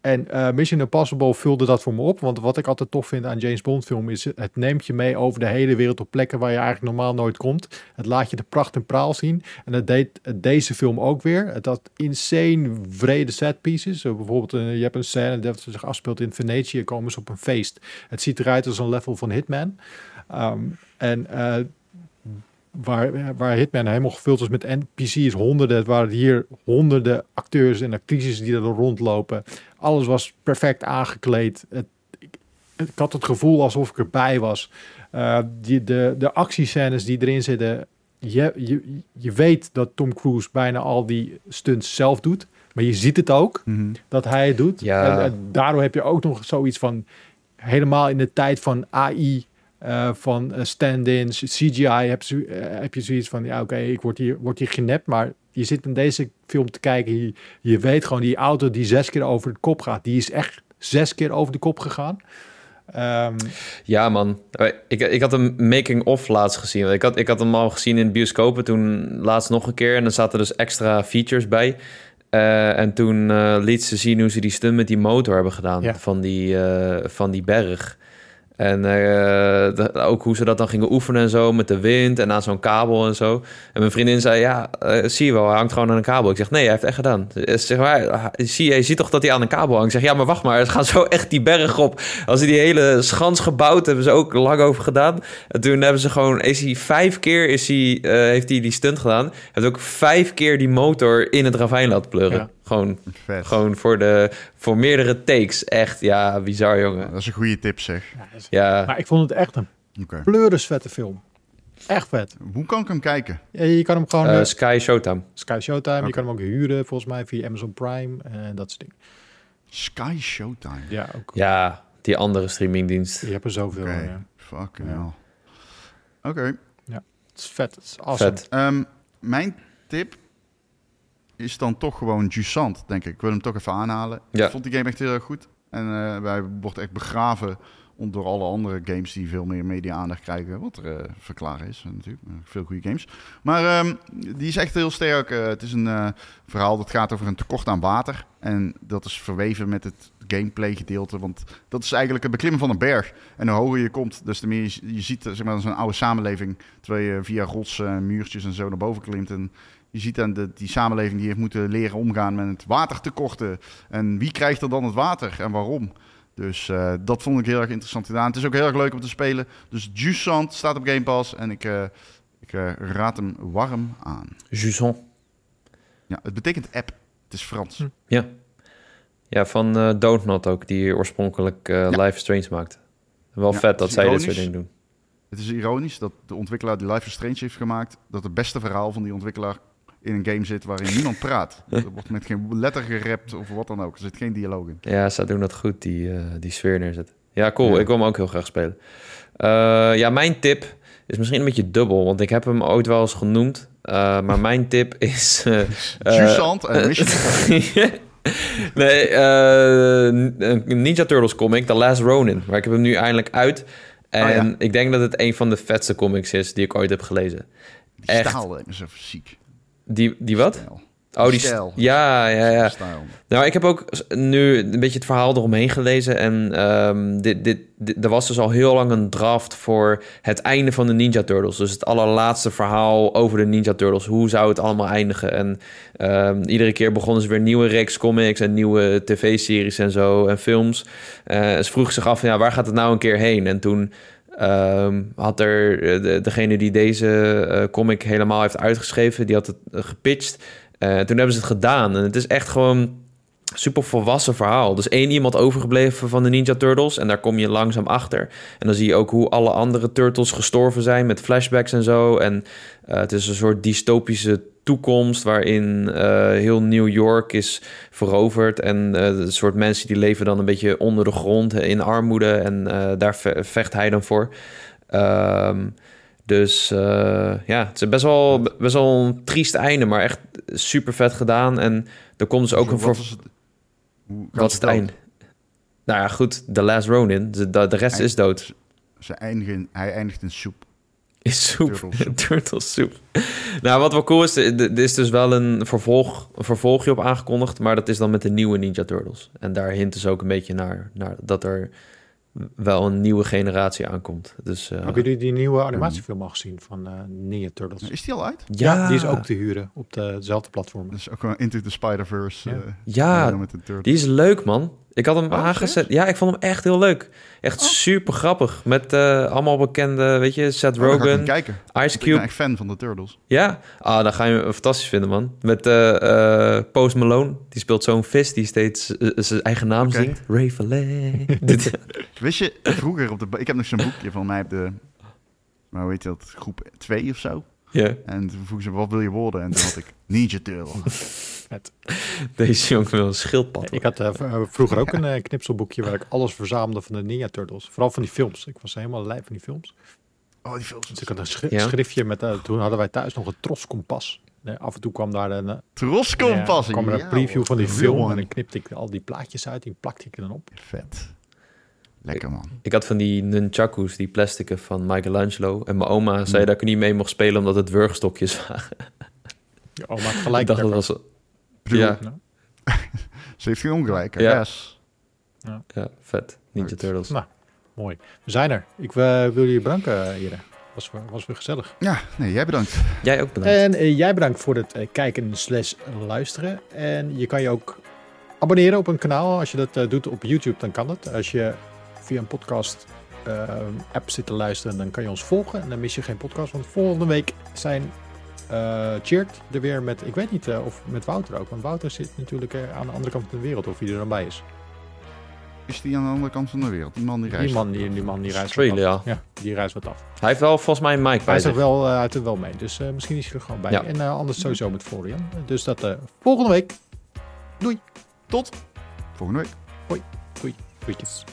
En eh, Mission Impossible vulde dat voor me op. Want wat ik altijd tof vind aan James Bond film is... het neemt je mee over de hele wereld op plekken waar je eigenlijk normaal nooit komt. Het laat je de pracht en praal zien. En dat deed eh, deze film ook weer. Het had insane vrede set pieces. Zo bijvoorbeeld, eh, je hebt een scène dat zich afspeelt in Venetië. Komen ze op een feest. Het ziet eruit als een level van Hitman. Ehm, en eh, waar, waar Hitman helemaal gevuld is met NPC's, honderden, waren hier honderden acteurs en actrices die er rondlopen. Alles was perfect aangekleed. Het, ik, ik had het gevoel alsof ik erbij was. Eh, die, de, de actiescènes die erin zitten, je, je, je weet dat Tom Cruise bijna al die stunts zelf doet. Maar je ziet het ook
Mhm.
dat hij het doet.
Ja.
En, en daardoor heb je ook nog zoiets van helemaal in de tijd van AI, eh, van eh, stand-ins, CGI, heb, zo- eh, heb je zoiets van ja, oké, ik word hier, word hier genept, maar je zit in deze film te kijken, je, je weet gewoon die auto die zes keer over de kop gaat, die is echt zes keer over de kop gegaan. Ehm,
Ja, man. Eh, Ik, ik had een making-of laatst gezien. Ik had, ik had hem al gezien in bioscopen, toen laatst nog een keer. En dan zaten dus extra features bij. Eh, en toen eh, liet ze zien hoe ze die stunt met die motor hebben gedaan
Ja.
van, die, eh, van die berg. En eh, de- ook hoe ze dat dan gingen oefenen en zo, met de wind en aan zo'n kabel en zo. En mijn vriendin zei, ja, eh, zie je wel, hij hangt gewoon aan een kabel. Ik zeg, nee, hij heeft het echt gedaan. Ze zegt, maar, zie, je ziet toch dat hij aan een kabel hangt? Ik zeg, ja, maar wacht maar, ze gaan zo echt die berg op. Als ze die hele schans gebouwd, hebben ze ook lang over gedaan. En toen hebben ze gewoon, is hij vijf keer, is hij, eh, heeft hij die stunt gedaan. Heeft ook vijf keer die motor in het ravijn laten pleuren.
Ja.
Gewoon,
Vet.
gewoon voor, de, voor meerdere takes. Echt, ja, bizar, jongen.
Dat is een goede tip, zeg.
ja, dat is-
Ja,
maar ik vond het echt een
Oké.
pleurisvette film. Echt vet.
Hoe kan ik hem kijken?
Ja, Je kan hem gewoon...
eh,
eh,
Sky Showtime.
Sky Showtime,
oké.
je kan hem ook huren volgens mij via Amazon Prime en dat soort dingen.
Sky Showtime.
Ja, ook.
Ja, die andere streamingdienst.
Je hebt er zoveel.
Oké.
ja.
Fucking
Ja.
hell. Oké.
Het is vet. Het is awesome.
Vet.
Ehm, mijn tip is dan toch gewoon Jusant, denk ik. Ik wil hem toch even aanhalen.
Ja.
Ik vond die game echt heel erg goed. En eh, wij wordt echt begraven om- door alle andere games die veel meer media-aandacht krijgen. Wat er eh, verklaren is, natuurlijk. Eh, Veel goede games. Maar ehm, die is echt heel sterk. Eh, het is een eh, verhaal dat gaat over een tekort aan water. En dat is verweven met het gameplay gedeelte. Want dat is eigenlijk het beklimmen van een berg. En hoe hoger je komt, des te meer je, je ziet eh, zeg maar, zo'n oude samenleving. Terwijl je eh, via rotsen en muurtjes en zo naar boven klimt. En je ziet dan dat die samenleving die heeft moeten leren omgaan met het watertekorten. En wie krijgt er dan het water en waarom? Dus eh, dat vond ik heel erg interessant gedaan. Het is ook heel erg leuk om te spelen. Dus Jusant staat op Game Pass en ik, eh, ik eh, raad hem warm aan.
Juson.
Ja, het betekent app. Het is Frans.
Hm.
Ja, van eh Dontnod ook, die oorspronkelijk eh Live Strange maakt. Wel
Ja,
vet
dat
dat
is
zij dit soort
ironisch.
dingen doen.
Het is ironisch dat de ontwikkelaar die Life is Strange heeft gemaakt... dat het beste verhaal van die ontwikkelaar in een game zit waarin niemand praat. Er wordt met geen letter gerapt of wat dan ook. Er zit geen dialoog in.
Ja, zij doen dat goed, die, eh, die sfeer neerzetten. Ja, cool.
Ja.
Ik wil hem ook heel graag spelen. Eh, ja, mijn tip is misschien een beetje dubbel, want ik heb hem ooit wel eens genoemd. Eh, maar mijn tip is... eh, eh,
Jusant en Mission
nee, eh, een Ninja Turtles comic, The Last Ronin. Maar ik heb hem nu eindelijk uit. En
Oh ja.
ik denk dat het een van de vetste comics is die ik ooit heb gelezen.
Die
echt.
staal lijkt me zo ziek.
Die, die wat?
Stijl.
Oh, die
Stijl.
st- Ja, ja, ja.
Stijl.
Nou, ik heb ook s- nu een beetje het verhaal eromheen gelezen. En ehm, dit, dit, dit- er was dus al heel lang een draft voor het einde van de Ninja Turtles. Dus het allerlaatste verhaal over de Ninja Turtles. Hoe zou het allemaal eindigen? En ehm, iedere keer begonnen ze weer nieuwe reeks comics en nieuwe tv-series en zo en films. Eh ze vroeg zich af, ja, waar gaat het nou een keer heen? En toen ehm, had er eh, de- degene die deze eh, comic helemaal heeft uitgeschreven, die had het eh, gepitcht. Eh, toen hebben ze het gedaan. En het is echt gewoon super volwassen verhaal. Dus één iemand overgebleven van de Ninja Turtles. En daar kom je langzaam achter. En dan zie je ook hoe alle andere Turtles gestorven zijn met flashbacks en zo. En eh, het is een soort dystopische toekomst waarin eh, heel New York is veroverd. En eh een soort mensen die leven dan een beetje onder de grond eh, in armoede. En eh, daar ve- vecht hij dan voor. Ehm, dus eh, ja, het is best wel, best wel een triest einde, maar echt super vet gedaan. En er komt dus ook een voor
Wat is het, hoe gaat
wat is het
dan?
eind? Nou ja, goed. The Last Ronin. De, de, de rest
Eind.
is dood.
Ze eindigen, in- hij eindigt in soep.
Is soep.
Turtlesoep.
Turtlesoep. nou, wat wel cool is, er er is dus wel een, vervolg, een vervolgje op aangekondigd. Maar dat is dan met de nieuwe Ninja Turtles. En daar hint dus ook een beetje naar, naar dat er wel een nieuwe generatie aankomt. Dus, eh,
Hebben jullie die nieuwe animatiefilm al gezien van eh Ninja Turtles?
Nou, Is die al uit?
Ja, die is ook te huren op dezelfde platform.
Dat is ook wel Into the Spider-Verse.
Ja.
eh,
Ja,
met de turtle.
Ah, Die is leuk, man. Ik had hem
Oh,
aangezet. Ja, ik vond hem echt heel leuk. Echt super grappig. Met eh, allemaal bekende, weet je, Seth
Oh, dan ga ik hem
Rogen,
kijken.
Ice
Ik ben
Cube.
echt fan van de Turtles.
Ja, ah, dan ga je hem fantastisch vinden, man. Met eh, eh, Post Malone. Die speelt zo'n vis die steeds eh, zijn eigen naam
Oké.
zingt. Ray Valet. Dit-
Wist je, vroeger op de... ba- Ik heb nog zo'n boekje van mij op de... Maar hoe heet dat? Groep 2 of zo.
ja,
En toen vroegen ze, wat wil je worden? En toen had ik Ninja Turtle.
deze jongen wil een schildpad.
Ik had eh, v- eh, vroeger ook een eh, knipselboekje waar ik alles verzamelde van de Ninja Turtles. Vooral van die films. Ik was helemaal lijf van die films.
Oh, die films.
Dus ik had een schri-
Ja.
schriftje met, eh, toen hadden wij thuis nog een troskompas. Eh, af en toe kwam daar een, eh,
Troskompass.
kwam er een
Ja,
preview
hoor.
van die
Real
film en
one.
dan knipte ik al die plaatjes uit, die plakte ik er dan op.
Vet. Lekker, man.
Ik had van die nunchakus, die plastieken van Michelangelo. En mijn oma zei dat ik er niet mee mocht spelen omdat het wurgstokjes waren.
Ja, Oh, maar gelijk.
Ik dacht dat
Pepper.
was...
bedoel-
Ja,
Nou,
Ze heeft geen ongelijk.
Ja.
Ja.
ja, vet. Ninja
Goed.
Turtles.
Nou, mooi. We zijn er. Ik eh, wil jullie bedanken, Jere. Was, weer- was weer gezellig.
Ja, nee, jij bedankt.
Jij ook bedankt.
En eh, jij bedankt voor het eh, kijken slash luisteren. En je kan je ook abonneren op een kanaal. Als je dat eh, doet op YouTube, dan kan dat. Als je via een podcast eh, app zit te luisteren, dan kan je ons volgen. En dan mis je geen podcast. Want volgende week zijn eh Cheert er weer met, ik weet niet eh, of met Wouter ook. Want Wouter zit natuurlijk eh, aan de andere kant van de wereld, of hij er dan bij is.
Is die aan de andere kant van de wereld? Die man die reist.
Die man, die, die man die reist wat af.
Australia.
Ja, die reist wat af.
Hij heeft wel volgens mij een mic bij
Hij zit
zich.
wel, eh, hij zit er wel mee, dus eh, misschien is hij er gewoon bij.
Ja.
En eh, anders sowieso met Florian. Dus dat eh, volgende week.
Tot volgende week.
Goedjes.